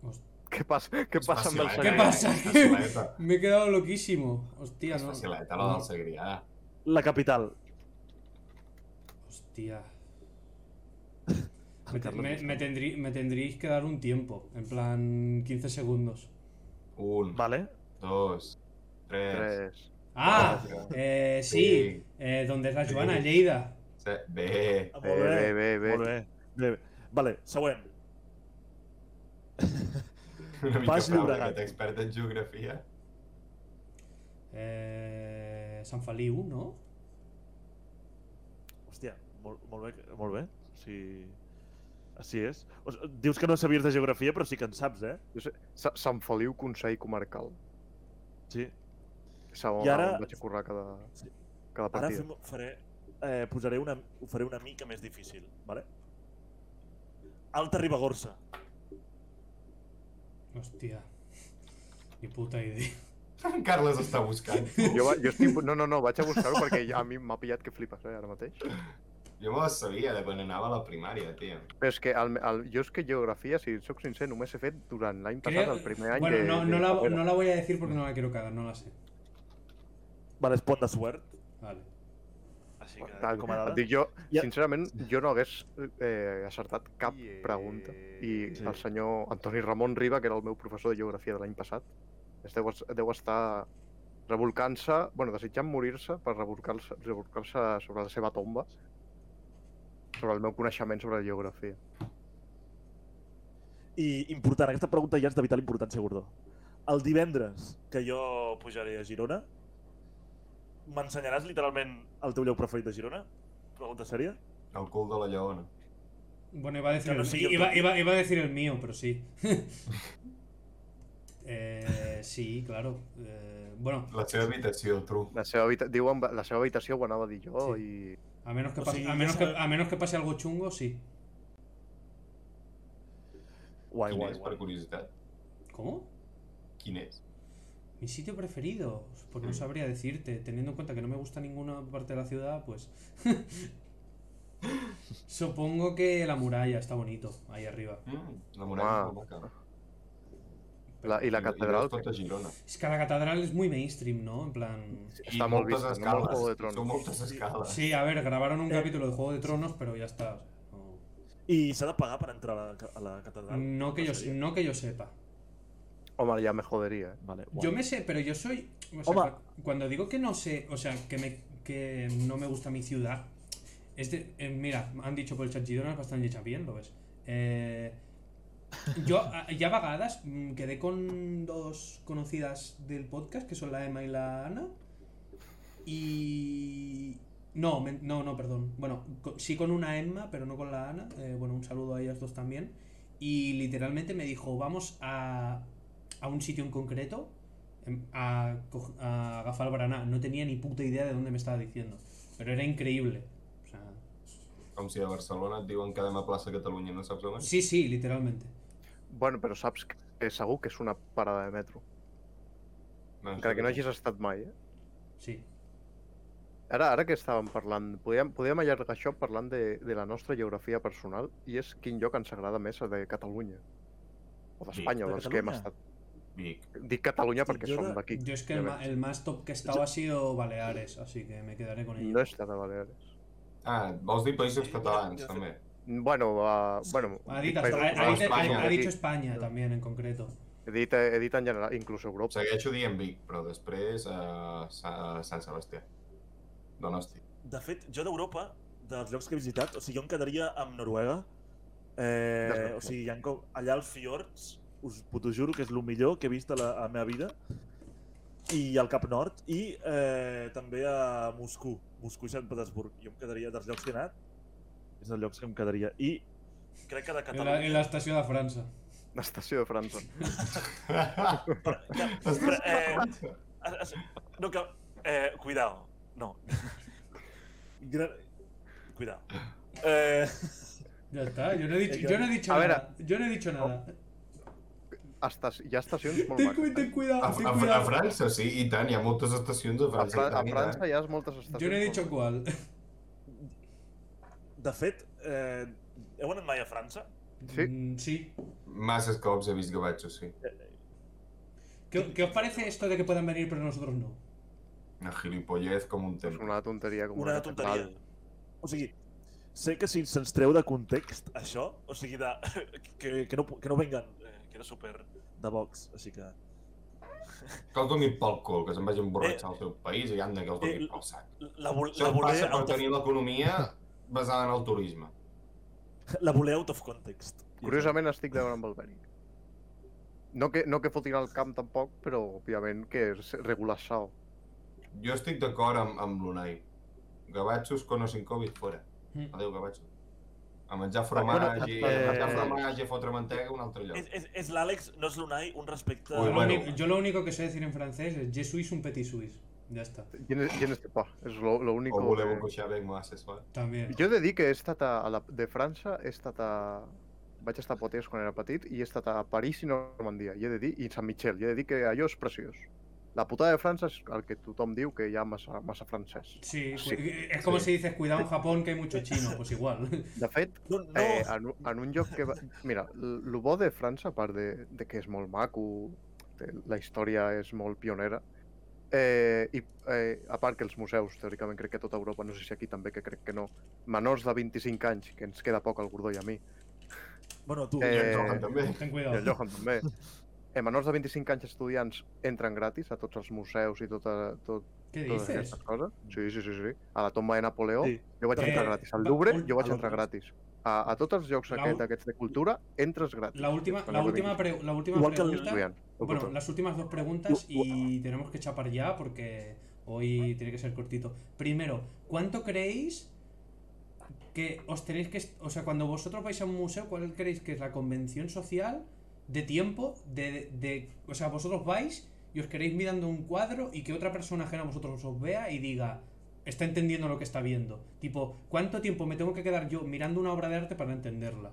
S4: Host-
S2: Què passa, què passa amb el
S3: facileta, eh?
S4: Què
S2: Segrià?
S4: passa?
S3: És facileta.
S4: Me he quedado loquísimo. Hostia,
S3: És
S4: no.
S3: facileta, la del Segrià.
S1: La capital.
S4: Hostia. Me, te- me- me tendrí- me tendríais que dar un tiempo, en plan 15 segundos.
S3: Un,
S1: Vale.
S3: dos, tres...
S2: Tres.
S4: Ah,
S3: Gracias.
S4: eh, sí,
S3: Sí.
S4: eh, ¿dónde es la
S3: Sí.
S4: Joana, Lleida?
S3: set. Bé,
S1: Ah,
S2: Bé,
S1: Molt bé,
S2: bé, bé, bé.
S1: Molt bé. bé, bé. Vale, següent.
S3: una mica
S1: Pas
S3: frau,
S1: Llobregat.
S3: aquest expert en geografia.
S4: Eh, San Feliu, ¿no?
S1: Hòstia, molt, molt bé. Molt bé. Sí. Així és. O sigui, dius que no sabies de geografia, però sí que en saps, eh?
S2: Jo sé- Sa- Sant Feliu, Consell Comarcal.
S1: Sí.
S2: És on,
S1: I ara-
S2: on vaig a currar cada,
S1: Sí.
S2: cada
S1: Ara
S2: partida.
S1: fem, faré, eh, posaré una, ho faré una mica més difícil, vale? Alta Ribagorça.
S4: Hostia, ni puta idea.
S3: En Carles està buscant.
S2: Jo, va- jo estic... No, no, no, vaig a buscar-ho perquè a mi m'ha pillat que flipes, eh, ara mateix.
S3: Jo me la sabia de quan anava a la primària, tio.
S2: Però és que el, el, jo és que geografia, si sóc sincer, només he fet durant l'any passat,
S4: Creo-
S2: el primer any
S4: bueno,
S2: de,
S4: no,
S2: de
S4: no, la,
S2: carrera.
S4: no la voy a decir porque no la quiero cagar, no la sé.
S1: Vale, és Pont de Suert.
S4: Vale.
S1: Així
S2: Bueno,
S1: que,
S2: tal,
S1: com a dada.
S2: Et dic jo,
S1: Ja-
S2: sincerament, jo no hagués eh, acertat cap pregunta. I
S1: Sí.
S2: el senyor Antoni Ramon Riba, que era el meu professor de geografia de l'any passat, es deu, es- deu estar revolcant-se, bueno, desitjant morir-se per revolcar-se revolcar sobre la seva tomba, sobre el meu coneixement sobre la geografia.
S1: I important, aquesta pregunta ja és de vital importància, Gordó. El divendres que jo pujaré a Girona, m'ensenyaràs literalment el teu lloc preferit de Girona? Pregunta sèria?
S3: El cul de la lleona.
S4: Bueno, iba a decir,
S1: Claro,
S4: el,
S1: sí,
S4: i-
S1: yo
S4: iba,
S1: creo-
S4: iba- iba a decir el mío, pero sí. Eh, sí, claro. Eh, bueno,
S3: La seva habitació, tru.
S2: La seva, habita diuen, la seva habitació ho anava a dir jo, i
S4: a menos que
S1: O
S4: pase,
S1: Pues sí,
S4: a
S1: ya
S4: menos que,
S1: sabe-
S4: a menos que pase algo chungo, sí.
S1: Guai,
S3: Quin
S1: guai,
S3: és, per
S1: guai.
S3: curiositat?
S4: ¿Cómo?
S3: Quin és?
S4: Mi sitio preferido, pues no
S1: Mm.
S3: Sí.
S4: sabría decirte, teniendo en cuenta que no me gusta ninguna parte de la ciudad, pues supongo que la muralla está bonito ahí arriba.
S3: Mm, la muralla és molt maca.
S2: la, i la catedral,
S3: I no és tot a Girona.
S4: Es que la catedral es muy mainstream, ¿no? En plan,
S2: que està molt
S3: moltes
S2: vista, no
S3: escales.
S2: molt Juego de Tronos.
S3: Són moltes escales.
S4: sí, a ver, grabaron un
S1: Eh.
S4: capítulo de Juego de Tronos, pero ya está. o sea, no-
S1: I s'ha de pagar per entrar a la, ca- a la catedral?
S4: No que yo, se- no que yo sepa.
S2: Home, ja me joderia. eh?
S1: Vale, guai.
S4: Yo me sé, pero yo soy. o sea,
S1: Oma.
S4: cu- cuando digo que no sé, o sea, que, me, que no me gusta mi ciudad. Es de- eh, mira, han dicho por el chat Girona es bastante hecha bien, lo ves. Eh, yo a- ya vagadas mm, quedé con dos conocidas del podcast, que son la Emma y la Ana. Y. No, men- no, no, perdón. Bueno, co- sí con una Emma, pero no con la Ana. Eh, bueno, un saludo a ellas dos también. Y literalmente me dijo, vamos a, a un sitio en concreto, em, a, co- a Gafalbarana. No tenía ni puta idea de dónde me estaba diciendo. Pero era increíble. O sea,
S3: Com si a Barcelona et diuen que anem a plaça Catalunya i no saps on és.
S4: sí, sí, literalmente.
S2: Bueno, però saps que que segur que és una parada de metro.
S3: No,
S2: Encara que no
S3: sí.
S2: hagis estat mai, eh?
S4: Sí.
S2: Ara, ara que estàvem parlant, podíem, podíem allargar això parlant de, de la nostra geografia personal i és quin lloc ens agrada més de Catalunya. O d'Espanya,
S1: de
S2: o dels que hem
S1: Catalunya.
S2: estat.
S3: Vic.
S2: Dic Catalunya
S1: Sí,
S2: perquè
S1: jo
S2: som
S1: de-
S2: d'aquí.
S4: Yo es que
S2: ja
S4: el, ma-
S2: veig.
S4: el más top que he estado ha sido Baleares, así que me quedaré con ello.
S2: No està de Baleares.
S3: Ah, vols dir Països
S1: Sí,
S3: Catalans,
S1: jo- jo-
S3: també?
S2: Bueno, uh, bueno
S4: Ha
S2: dic
S4: dicho,
S2: països
S4: ha- ha
S2: catalans,
S4: dicho-
S3: España,
S4: ha- ha
S2: aquí.
S4: dicho España también en concreto.
S2: he, dit, he dit en general, inclús Europa.
S3: Segueixo dient Vic, però després a Sant Sebastià. Donosti.
S1: De fet, jo d'Europa, dels llocs que he visitat, o sigui, jo em quedaria amb Noruega. Eh,
S2: Noruega.
S1: o sigui, hi ha com, allà als fiords, us puto juro que és el millor que he vist a la, a la meva vida. i al Cap Nord, i eh, també a Moscou, Moscou i Sant Petersburg. Jo em quedaria dels llocs que he anat, és dels llocs que em quedaria. I crec que de
S4: En la,
S1: Catalunya...
S4: en la estació de França.
S2: L'estació de França.
S1: Però, ja, però, eh, es- es- no, que, eh, cuidao, no. Gran... Cuidao. Eh,
S4: Ya está, yo no he dicho, yo no he dicho
S2: A ver,
S4: nada. yo no he dicho nada.
S2: Estac... Hi ha estacions molt
S4: Ten, cu-
S2: maques. eh?
S4: ten cuidado,
S3: A,
S4: ten
S3: a, a
S4: cuidado.
S3: França, sí, i tant, hi ha moltes estacions Ah, a
S2: A, Fra a
S3: França. i tant, i tant.
S2: França hi ha moltes estacions.
S4: Yo no he
S2: molt
S4: dicho
S2: maques.
S4: cuál.
S1: de fet, eh, heu anat mai a França?
S2: Sí.
S4: Mm, sí.
S3: Masses cops he vist gavatxo, sí.
S4: ¿Qué, qué os parece esto de que puedan venir pero nosotros no?
S3: Una gilipollez com un
S2: És
S3: temps.
S2: una tonteria com
S1: Una
S2: una
S1: tonteria. O sigui, sé que si se'ns treu de context això, o sigui, de, que, que, no, que no venguen, eh, que era super de Vox, així que...
S3: Que el donin pel cul, que se'n vagin borratxar al seu país i anda que el donin
S1: Eh,
S3: pel sac.
S1: La, vol, la,
S3: Això
S1: voler
S3: passa per
S1: out of,
S3: tenir l'economia basada en el turisme.
S1: la voler out of context.
S2: Curiosament estic d'acord amb el Beni. No que, no que fotin al camp tampoc, però òbviament que és regulació.
S3: Jo estic d'acord amb, amb l'Unai. Gavatxos con o sin Covid fora.
S4: Mm.
S3: Adéu, gavatxo. A menjar
S2: Bueno,
S3: fromatge, a menjar
S2: eh,
S3: fromatge, a fotre mantega a un altre
S1: És,
S3: lloc.
S1: és, és l'Àlex, no és l'Unai, un respecte...
S3: Ui,
S4: Yo,
S3: Pues bueno.
S4: lo único, yo lo único que sé decir en francés es Je suis un petit suisse. Ya está.
S2: Gens de pa, és lo, lo único...
S3: O voleu
S2: que...
S3: coixar bé amb assessor.
S4: También.
S2: Jo he de dir que he estat a, a la, de França, he estat a... Vaig estar a Potes quan era petit i he estat a París i Normandia, i he de dir, i Sant Michel, i he de dir que allò és preciós. La putada de França és el que tothom diu que hi ha massa, massa francès.
S4: Sí,
S2: Sí.
S4: cu- es como
S3: Sí.
S4: si dices cuidado en Japón que hay mucho chino, pues igual.
S2: De fet,
S1: No, no,
S2: Eh, en, un- en un lloc que... Va... Mira, el bo de França, a part de, de que és molt maco, de, la història és molt pionera, eh, i eh, a part que els museus, teòricament crec que a tota Europa, no sé si aquí també, que crec que no, menors de 25 anys, que ens queda poc al Gordó i a mi,
S1: bueno, tu,
S2: eh,
S1: eh,
S3: també.
S4: Ten
S2: i al
S4: cuidado.
S2: Johan també, eh, menors de 25 anys estudiants entren gratis a tots els museus i tota, tot,
S4: ¿Qué
S2: totes
S4: dices?
S2: aquestes coses. Sí, sí, sí, sí. A la tomba de Napoleó,
S1: Sí.
S2: jo vaig
S4: Eh,
S2: entrar gratis. Al
S4: va-
S2: Louvre,
S4: un-
S2: jo vaig
S1: al
S2: entrar
S1: Louvre.
S2: gratis. A, a tots els llocs
S4: La
S2: aquest,
S4: ul-
S2: aquests de cultura, entres gratis.
S4: La última, la
S2: Menors de
S4: última,
S2: 25.
S4: pre- la última
S1: Igual que el-
S4: pregunta.
S2: Estudiant.
S4: Bueno, las últimas dos preguntas y tenemos que chapar ya porque hoy tiene que ser cortito. Primero, ¿cuánto creéis que os tenéis que... est- O sea, cuando vosotros vais a un museo, ¿cuál creéis que es la convención social de tiempo? De, de- o sea, vosotros vais y os queréis mirando un cuadro y que otra persona ajena a vosotros os vea y diga, está entendiendo lo que está viendo. Tipo, ¿cuánto tiempo me tengo que quedar yo mirando una obra de arte para entenderla?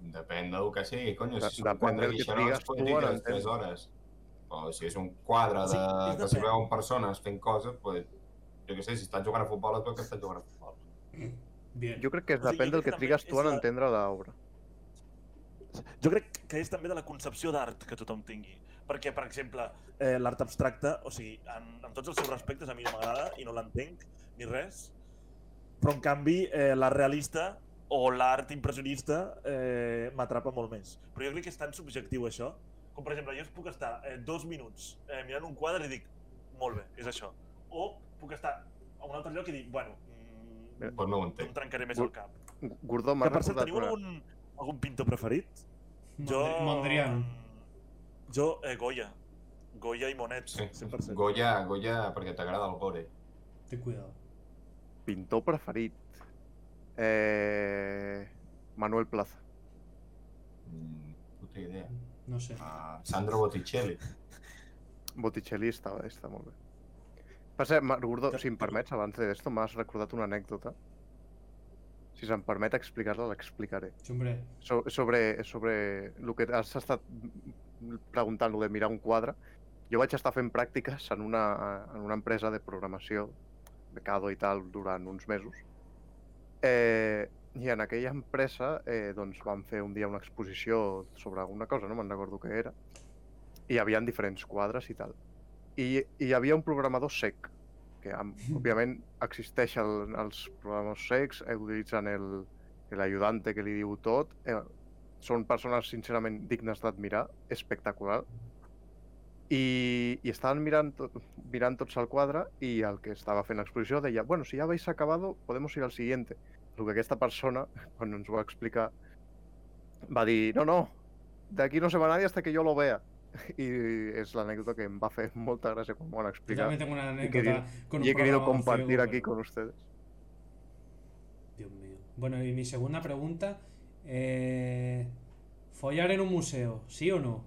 S3: Depèn del que sigui, coño. Si són
S2: Depèn
S3: quatre
S2: del que
S3: guixarots,
S2: trigues
S3: pots
S2: tu,
S3: dir
S2: ara,
S3: que és tres hores. O si és un quadre
S1: Sí,
S3: de,
S1: és
S3: que s'hi
S1: depèn.
S3: veuen persones fent coses, pues, jo què sé, si estàs jugant a futbol, es veu que estàs jugant a futbol.
S4: Bien.
S2: Jo crec que
S1: O
S2: es
S1: sigui,
S2: depèn
S1: jo
S2: del
S1: crec
S2: que
S1: que
S2: trigues
S1: també
S2: tu en
S1: és la-
S2: entendre l'obra.
S1: jo crec que és també de la concepció d'art que tothom tingui. Perquè, per exemple, eh, l'art abstracte, o sigui, en, en tots els seus respectes a mi no m'agrada i no l'entenc ni res, però en canvi eh, l'art realista o l'art impressionista eh, m'atrapa molt més. Però jo crec que és tan subjectiu això, com per exemple, jo puc estar eh, dos minuts eh, mirant un quadre i dic, molt bé, és això. O puc estar a un altre lloc i dir, bueno, mm,
S3: Pues no ho
S1: no em
S3: entenc.
S1: trencaré més el cap.
S2: Gordó m'ha
S1: Que per cert,
S2: recordat
S1: teniu
S2: una...
S1: algun, algun pintor preferit? Jo...
S4: Mondri- Mondrian.
S1: Jo, eh, Goya. Goya i Monet,
S3: Sí.
S1: 100%.
S3: Goya, Goya, perquè t'agrada el gore.
S4: Ten cuidado.
S2: Pintor preferit. Eh... Manuel Plaza.
S3: Mm, puta idea.
S4: No sé.
S3: Ah, Sandro Botticelli.
S2: Botticelli està, està molt bé. Per cert, Ma- Gordó,
S1: Que-
S2: si em permets, abans d'això m'has recordat una anècdota. Si se'm permet explicar-la, l'explicaré.
S4: Sí, hombre.
S2: So sobre, sobre el que has estat preguntant, lo de mirar un quadre. Jo vaig estar fent pràctiques en una, en una empresa de programació, de CADO i tal, durant uns mesos. Eh, I en aquella empresa eh, doncs van fer un dia una exposició sobre alguna cosa, no me'n recordo què era. I hi havia diferents quadres i tal. I, i hi havia un programador sec, que am- òbviament existeix el, els programadors secs, eh, utilitzen el, l'ajudante que li diu tot. Eh, són persones sincerament dignes d'admirar, espectacular. I, i estaven mirant, to mirant tots al quadre i el que estava fent l'exposició deia bueno, si ja habéis acabado, podemos ir al siguiente. El que aquesta persona, quan ens ho va explicar, va dir no, no, d'aquí no se va nadie hasta que yo lo vea. y es la anécdota que me va a hacer molta gràcia quan m'ho han
S4: Yo
S2: explicat.
S4: también tengo una
S2: Y he querido-
S4: anécdota con un
S2: Y he querido
S4: programa vacío,
S2: compartir aquí
S4: pero-
S2: con ustedes.
S4: Dios mío. Bueno, y mi segunda pregunta. eh, ¿Follar en un museo? ¿Sí o no?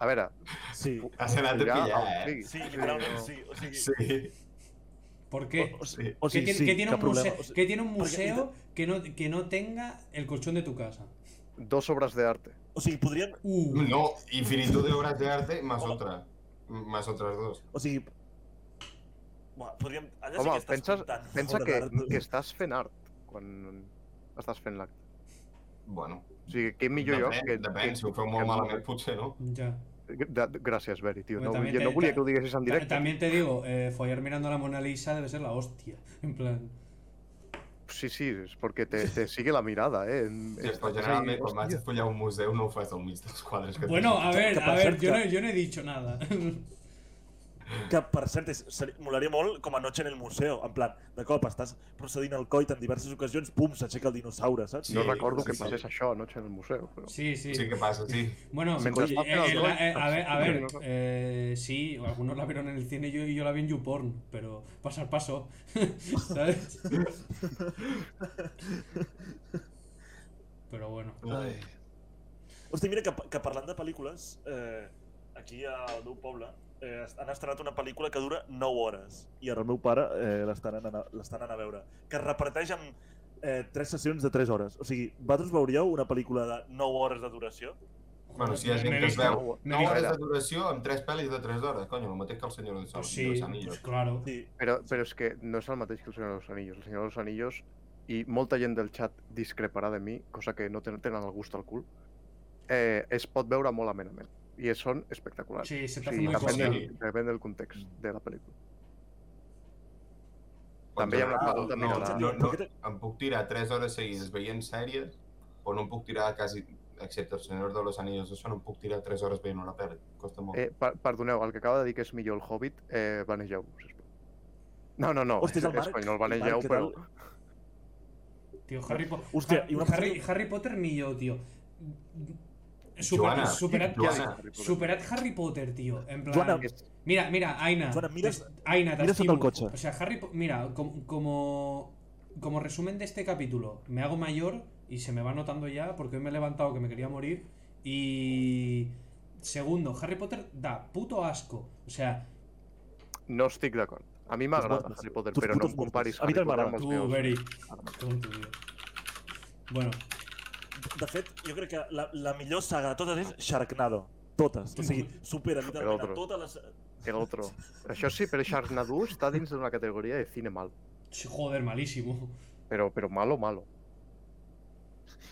S2: A veure,
S1: Sí,
S3: Has anat a
S2: follar
S3: pillar,
S2: a un
S3: eh?
S2: fill.
S1: sí,
S2: Sí,
S1: literalment
S2: no.
S1: sí. O sigui,
S3: Sí.
S4: ¿Por qué?
S1: O, o,
S3: Sí.
S1: o
S4: ¿Qué,
S1: sigui,
S4: tiene-
S1: sí,
S4: qué tiene
S1: cap
S4: un museo,
S1: problema. O sigui,
S4: qué tiene un
S1: porque-
S4: museo que no, que no tenga el colchón de tu casa?
S2: Dos obras de arte.
S1: o sigui, podríem...
S4: Uh,
S3: No, infinitud de obras de arte más
S1: Home.
S3: otra. Más otras dos.
S1: O sigui... Buah, podríem... Allà
S2: Home,
S1: sí que estàs
S2: penses-
S1: comptant
S2: Pensa
S1: fora
S2: que,
S1: d'art.
S2: que estàs fent art quan estàs fent l'acte.
S3: Bueno.
S2: O sigui, què millor lloc
S3: depèn,
S2: que...
S3: depèn, si ho feu molt
S2: que-
S3: malament potser, no?
S4: ya.
S2: que- de- Gràcies, Beri, tio. No,
S4: Bueno, també
S2: jo no
S4: te-
S2: volia
S4: ta-
S2: que ho diguessis en
S4: Ta-
S2: directe.
S4: También te digo, eh, follar mirando la Mona Lisa debe ser la hostia. En plan,
S2: Sí, sí, és perquè te, te sigue la mirada, eh? En-
S3: Sí, pues
S2: estàs
S3: però
S2: ahí,
S3: generalment quan vaig
S2: hòstia.
S3: a follar a un museu no ho fas al mig dels quadres que
S4: bueno, a ver,
S1: que
S4: a
S1: per
S4: ver,
S1: cert
S4: yo no,
S1: que-
S4: yo no he dicho nada.
S1: Que, per cert, és, seri- molaria molt com a noche en el museu. En plan, de cop estàs procedint al coit en diverses ocasions, pum, s'aixeca el dinosaure, saps?
S3: Sí.
S2: No recordo
S3: sí,
S2: que
S3: sí.
S2: passés això anoche en el museu, però...
S4: Sí, sí.
S3: Sí que passa, sí.
S4: Bueno,
S2: Mentre
S4: oye,
S2: estás en
S4: eh,
S2: los
S4: la- eh, a
S2: dos.
S4: ver, a ver,
S2: Sí.
S4: eh, sí, algunos la vieron en el cine y yo, y yo la vi en YouPorn, pero pasar paso, ¿sabes? Pero bueno,
S3: Ai.
S1: Hosti, mira, que, que parlant de pel·lícules, eh, aquí al meu poble eh, es- han estrenat una pel·lícula que dura 9 hores i ara el meu pare eh, l'estan anant, a- l'estan anant a veure, que es reparteix en eh, 3 sessions de 3 hores. O sigui, vosaltres veuríeu una pel·lícula de 9 hores de duració?
S3: Bueno, si hi ha
S4: Me
S3: gent
S4: he
S3: que es
S4: visto-
S3: veu
S2: me he
S3: 9 hores
S2: visto-
S3: de duració amb 3 pel·lis de 3 hores, coño, el mateix que el Senyor dels
S4: pues
S3: Anillos.
S4: sí, pues claro.
S1: Sí,
S2: Però, però és que no és el mateix que el Senyor dels Anillos. El Senyor dels Anillos i molta gent del chat discreparà de mi, cosa que no ten- tenen el gust al cul, eh, es pot veure molt amenament. I es- són espectaculars.
S4: Sí, se te
S2: O
S4: hace
S2: sigui,
S4: muy
S3: la
S2: depèn,
S4: corta.
S2: del, depèn del context
S1: Mm.
S2: de la pel·lícula.
S3: Pots
S2: També hi ha una
S1: ah,
S3: anar-
S2: pregunta,
S3: no,
S2: mira,
S3: no,
S1: la-
S3: no, em puc tirar 3 hores seguides veient sèries, o no em puc tirar quasi, excepte el Senyor de los Anillos, això no em puc tirar 3 hores veient una pel·li, costa molt.
S2: Eh, per, perdoneu, el que acaba de dir que és millor el Hobbit, eh, banegeu-vos, sisplau. No, no, no,
S1: Hosti, és el Marc.
S2: espanyol,
S1: Marc,
S2: banegeu,
S1: què
S2: però...
S1: tal?
S4: Tío, Harry, Po-
S1: Hostia,
S4: Ha-
S1: y una
S4: Harry,
S1: persona-
S4: Harry Potter ni yo, tío. Superad,
S3: Joana,
S4: superad-
S3: Joana,
S4: superad Harry Potter, tío. En plan,
S1: Joana,
S2: És-
S4: Mira, mira, Aina.
S1: Fuera, mira-
S4: te- Aina, te
S1: mira sota el
S4: estimo.
S1: coche.
S4: O sea, Harry, Po- mira, com- como, como resumen de este capítulo, me hago mayor y se me va notando ya porque hoy me he levantado que me quería morir. Y. Segundo, Harry Potter da puto asco. O sea,
S2: No estic d'acord. A mi m'agrada Harry Potter,
S1: Tus
S2: però no
S1: putos
S2: em comparis
S1: mortos. A mi
S2: Harry
S1: també
S2: Potter amb
S1: m'agrada.
S2: els
S4: tú,
S2: meus...
S4: Berry. tonto, tío. Bueno,
S1: De fet, jo crec que la, la millor saga de totes és Sharknado. Totes. O sigui, supera literalment a
S2: Superotro.
S1: totes les...
S2: El otro. Això sí, però Sharknado està dins d'una categoria de cine mal.
S4: sí, joder, malísimo.
S2: Però, però malo, malo.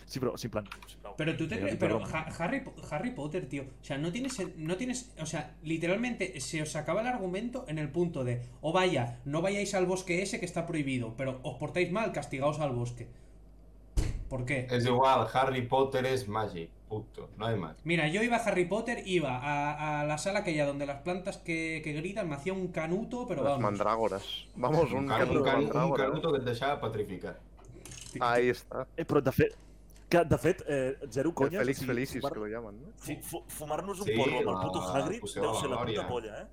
S1: Sí, però, sí, en plan... sisplau.
S4: Pero tú te
S1: Venga,
S4: crees,
S1: Víctor,
S4: pero
S1: vamos.
S4: Ha- Harry, Po- Harry Potter, tío, o sea, no tienes, no tienes, o sea, literalmente se os acaba el argumento en el punto de, o vaya, no vayáis al bosque ese que está prohibido, pero os portáis mal, castigaos al bosque. ¿Por qué?
S1: Eh.
S3: És igual, Harry Potter és màgic, punto, no hay más.
S4: Mira, yo iba a Harry Potter, iba a, a la sala aquella donde las plantas que, que gritan, me hacía un canuto, pero
S2: Las
S4: vamos.
S2: mandrágoras. Vamos, un,
S3: Un, can, un,
S2: canuto
S3: can, un
S2: mandrágora.
S3: canuto que et deixava petrificat.
S4: Ti-
S2: Ahí està.
S1: Eh, però de fet... Que, de fet, eh, zero
S2: El
S1: conyes...
S2: Félix
S1: o sigui,
S2: Felicis,
S1: fumar-
S2: que lo llaman, no?
S1: fu- fu- Fumar-nos un
S3: Sí,
S1: porro amb el
S3: la-
S1: puto
S3: la
S1: Hagrid
S3: poció de
S1: deu
S3: la
S1: ser la
S3: glòria.
S1: puta polla, eh?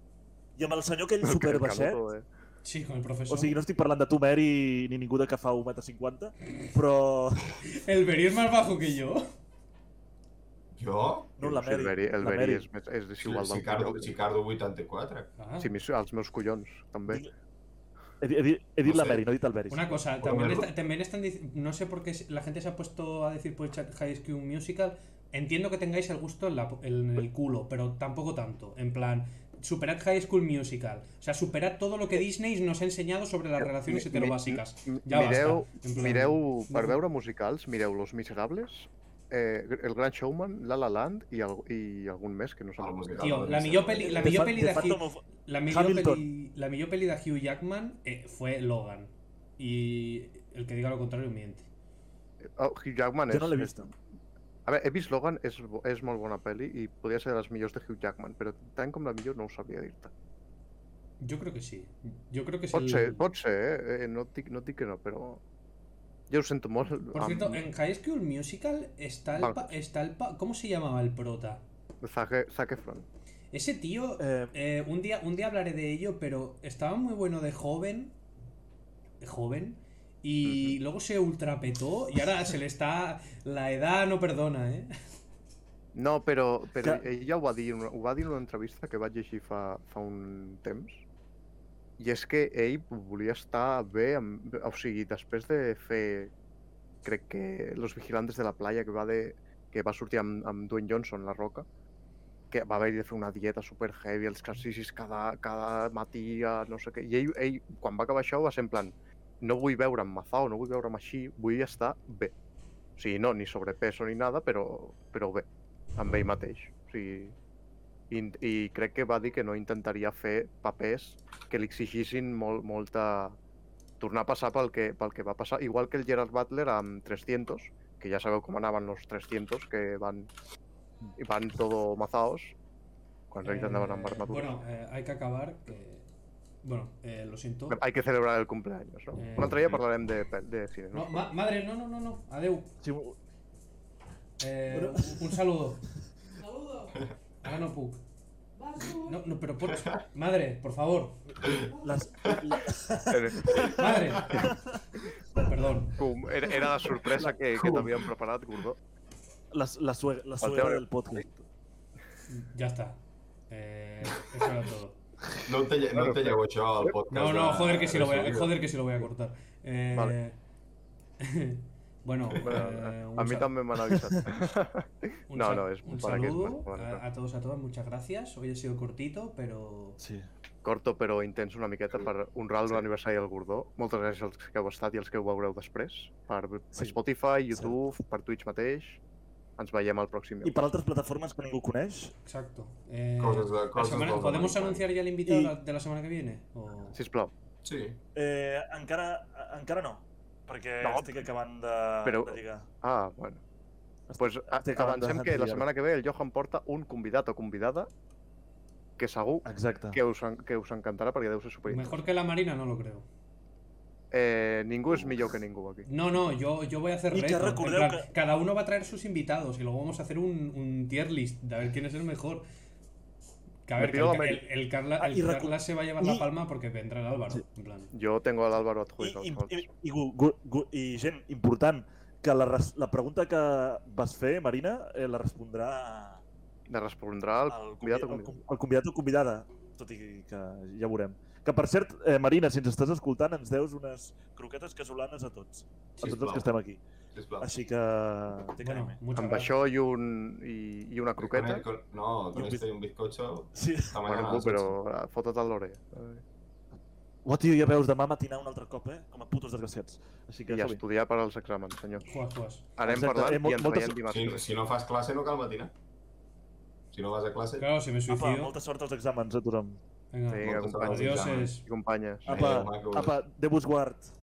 S1: I amb el senyor aquell
S2: El
S1: super baixet,
S2: canuto, eh?
S4: Sí, con el profesor.
S1: o sigui, no estic parlant de tu, Mary, ni ningú de que fa 1,50 m, però...
S4: El Berry es más bajo que yo.
S3: Jo?
S1: No, la
S2: Sí, el
S1: Mary.
S2: Beri, el
S1: la
S2: Beri és, més- és
S3: Si,
S2: desigual
S3: si,
S2: del
S3: Cardo,
S2: colló.
S3: si Cardo 84.
S4: Ah.
S2: Sí, mis, els meus collons, també.
S1: Digue- He, di- he, di- he dit
S3: No
S1: la
S3: sé.
S1: Mary, no he dit el Beris.
S4: Una cosa,
S3: Por
S4: también,
S3: verlo.
S4: está- también están dic- no sé por qué la gente se ha puesto a decir por el chat High School Musical. Entiendo que tengáis el gusto en, la- en
S1: Pues
S4: el culo, pero tampoco tanto. En plan, superad High School Musical. O sea, superad todo lo que Disney nos ha enseñado sobre las relaciones
S2: Mi-
S4: heterobásicas.
S2: mi-
S4: Ya
S2: mireu,
S4: basta. En plan,
S2: mireu, per
S4: no.
S2: veure musicals, mireu Los Miserables, eh, El Gran Showman, La La Land i, al, i algun més que no s'ha
S3: El musical.
S4: Tío, la millor peli, la
S1: The
S4: millor
S1: Fa-
S4: peli
S1: The
S4: de
S1: Phantom
S4: Hugh,
S1: of-
S4: la millor
S1: Hamilton.
S4: peli- la millor peli de Hugh Jackman eh, fue Logan. Y el que diga lo contrario miente.
S2: Oh, Hugh Jackman és...
S1: Jo no l'he vist.
S2: A veure, he vist Logan, és, bo- és molt bona pel·li i podria ser de les millors de Hugh Jackman, però tant com la millor no ho sabia dir-te.
S4: Yo creo que sí. Yo creo que es
S2: Pot
S4: el-
S2: ser, pot ser, eh? eh? No et dic, no et dic que no, però... Jo ho sento molt.
S4: Por cierto, en High School Musical está el,
S2: Vale.
S4: pa- está el pa- ¿cómo se llamaba el prota?
S2: Zac, E-, Zac Efron.
S4: Ese tío,
S1: Eh,
S4: eh, un, día, un día hablaré de ello, pero estaba muy bueno de joven. De joven. Y luego se ultrapetó y ahora se le está. La edad no perdona, ¿eh?
S2: No, però, però
S1: Que-
S2: ella ho va dir, en una- ho va dir en una entrevista que vaig llegir fa, fa un temps, i és que ell volia estar bé, amb, o sigui, després de fer, crec que Los Vigilantes de la Playa, que va, de, que va sortir amb, amb Dwayne Johnson, La Roca, que va haver de fer una dieta super heavy, els exercicis cada, cada matí, a no sé què, i ell, ell, quan va acabar això, va ser en plan, no vull veure'm mazao, no vull veure'm així, vull estar bé. O sigui, no, ni sobrepeso ni nada, però, però bé amb ell mateix. O sigui, i, I crec que va dir que no intentaria fer papers que li exigissin molt, molta... tornar a passar pel que, pel que va passar. Igual que el Gerard Butler amb 300, que ja sabeu com anaven los 300, que van, van todo mazaos, quan en realidad andaven amb
S4: Eh,
S2: armadura.
S4: Bueno, eh, hay que acabar. que- Bueno, eh, lo siento.
S2: Hay que celebrar el cumpleaños, no?
S4: Eh,
S2: Un altre dia parlarem de, pel- de cine, no?
S4: No, ma- madre, no, no, no, no. Adeu.
S1: Sí, ho-
S4: Eh,
S1: Bueno.
S4: un, un saludo.
S5: Saludos.
S4: Ahora no puc.
S5: Vaso.
S4: No, no, pero por... Madre, por favor.
S1: les, la,
S2: Eh,
S4: Madre. Perdón.
S2: Com- Era, era la sorpresa que, que
S1: Com?
S2: t'havien preparat, Gordó.
S1: la, la, suegra, la
S2: Falteu-
S1: suegra del podcast.
S4: Ya está. Eh, eso era todo.
S3: No te, lle- no te llevo això al podcast.
S4: No, no,
S3: de-
S4: joder que sí lo voy
S3: de
S4: a,
S3: Solideo.
S4: joder que sí lo voy a cortar. Eh,
S2: Vale.
S4: bueno, eh,
S2: Bueno,
S4: un
S2: a mi
S4: sal-
S2: també m'han avisat.
S4: un
S2: No,
S4: sal-
S2: no, es
S4: un
S2: para que-
S4: saludo
S2: para- para-
S4: a, a todos, a todas, muchas gracias. Hoy ha sido cortito, pero...
S1: Sí.
S2: corto però intens una miqueta per honrar l'aniversari del Gordó. Moltes gràcies als que heu estat i als que ho veureu després. Per
S1: Sí.
S2: Spotify, YouTube, per Twitch mateix. Ens veiem al pròxim.
S1: I per altres plataformes que ningú coneix,
S4: Exacto. Eh,
S3: Cosas de-
S4: la
S3: cosas
S4: semana-
S3: de-
S4: ¿Podemos
S3: de-
S4: anunciar ya el invitado
S1: Y-
S4: la- de la semana que viene? O-
S2: Sisplau.
S3: Sí.
S1: eh, encara, encara no, perquè
S2: No.
S1: estic acabant de,
S2: Però-
S1: de lligar.
S2: Ah, bueno. Pues, a-
S1: estic acabant
S2: avancem
S1: de-
S2: que la
S1: de-
S2: setmana que ve el Johan porta un convidat o convidada que segur
S1: Exacte.
S2: que us, en- que us encantarà perquè deu ser superinteressant.
S4: Mejor que la Marina, no lo creo.
S2: Eh, ningú és millor que ningú aquí.
S4: No, no, yo, yo voy a hacer
S1: Y que
S4: reto. en
S1: recordeu
S4: plan,
S1: que-
S4: Cada uno va a traer sus invitados y luego vamos a hacer un, un tier list de a ver quién es el mejor. Que a
S2: Me
S4: ver, que
S2: pido
S4: el,
S2: la
S4: el- el Carla,
S1: Ah,
S4: el
S1: y recu-
S4: Carla se va a llevar la
S1: y-
S4: palma porque vendrá el Álvaro. En plan.
S2: Jo tengo a l'Àlvaro
S1: I,
S2: Adjuiz.
S1: i, i, i, gu- gu- gu- I gent important, que la, res- la pregunta que vas fer, Marina, eh, la respondrà
S2: De respondrà el
S1: el,
S2: convidat o
S1: convi- el,
S2: convidada.
S1: com- el convidat o convidada, tot i que ja veurem. Que per cert, eh, Marina, si ens estàs escoltant, ens deus unes croquetes casolanes a tots, a tots els
S3: Sisplau.
S1: que estem aquí.
S3: Sisplau.
S1: Així que... té eh?
S4: Bueno,
S1: caime.
S4: muchas
S2: Amb
S4: gracias.
S2: això i, un, i, i una croqueta.
S3: Con- con- No,
S1: Y un
S3: con esto y un bizcocho.
S1: Sí.
S3: Esta mañana.
S2: Bueno,
S3: a
S2: bu,
S3: las
S2: però
S3: ocho.
S2: eh, fota't a l'orella. eh,
S1: Oh, tio, ja veus, demà matinar un altre cop, eh? Com a putos desgraciats. Així que
S2: I
S1: ja està bé.
S2: estudiar per als exàmens, senyor.
S4: Juas, juas.
S2: Anem
S1: Exacte,
S2: parlant
S1: eh, mol-
S2: i ens
S1: moltes-
S2: veiem dimarts. que
S3: Si,
S2: ve.
S3: si no fas clase, no cal matinar. Si no vas a clase...
S4: Claro, si me
S1: Apa,
S4: suicido.
S1: molta sort als exàmens a tothom.
S4: Venga.
S2: Sí,
S3: moltes
S2: companys
S3: gràcies.
S4: Adiós.
S2: i companyes.
S1: Apa,
S3: Adéu, macos.
S1: apa, Déu vos guard.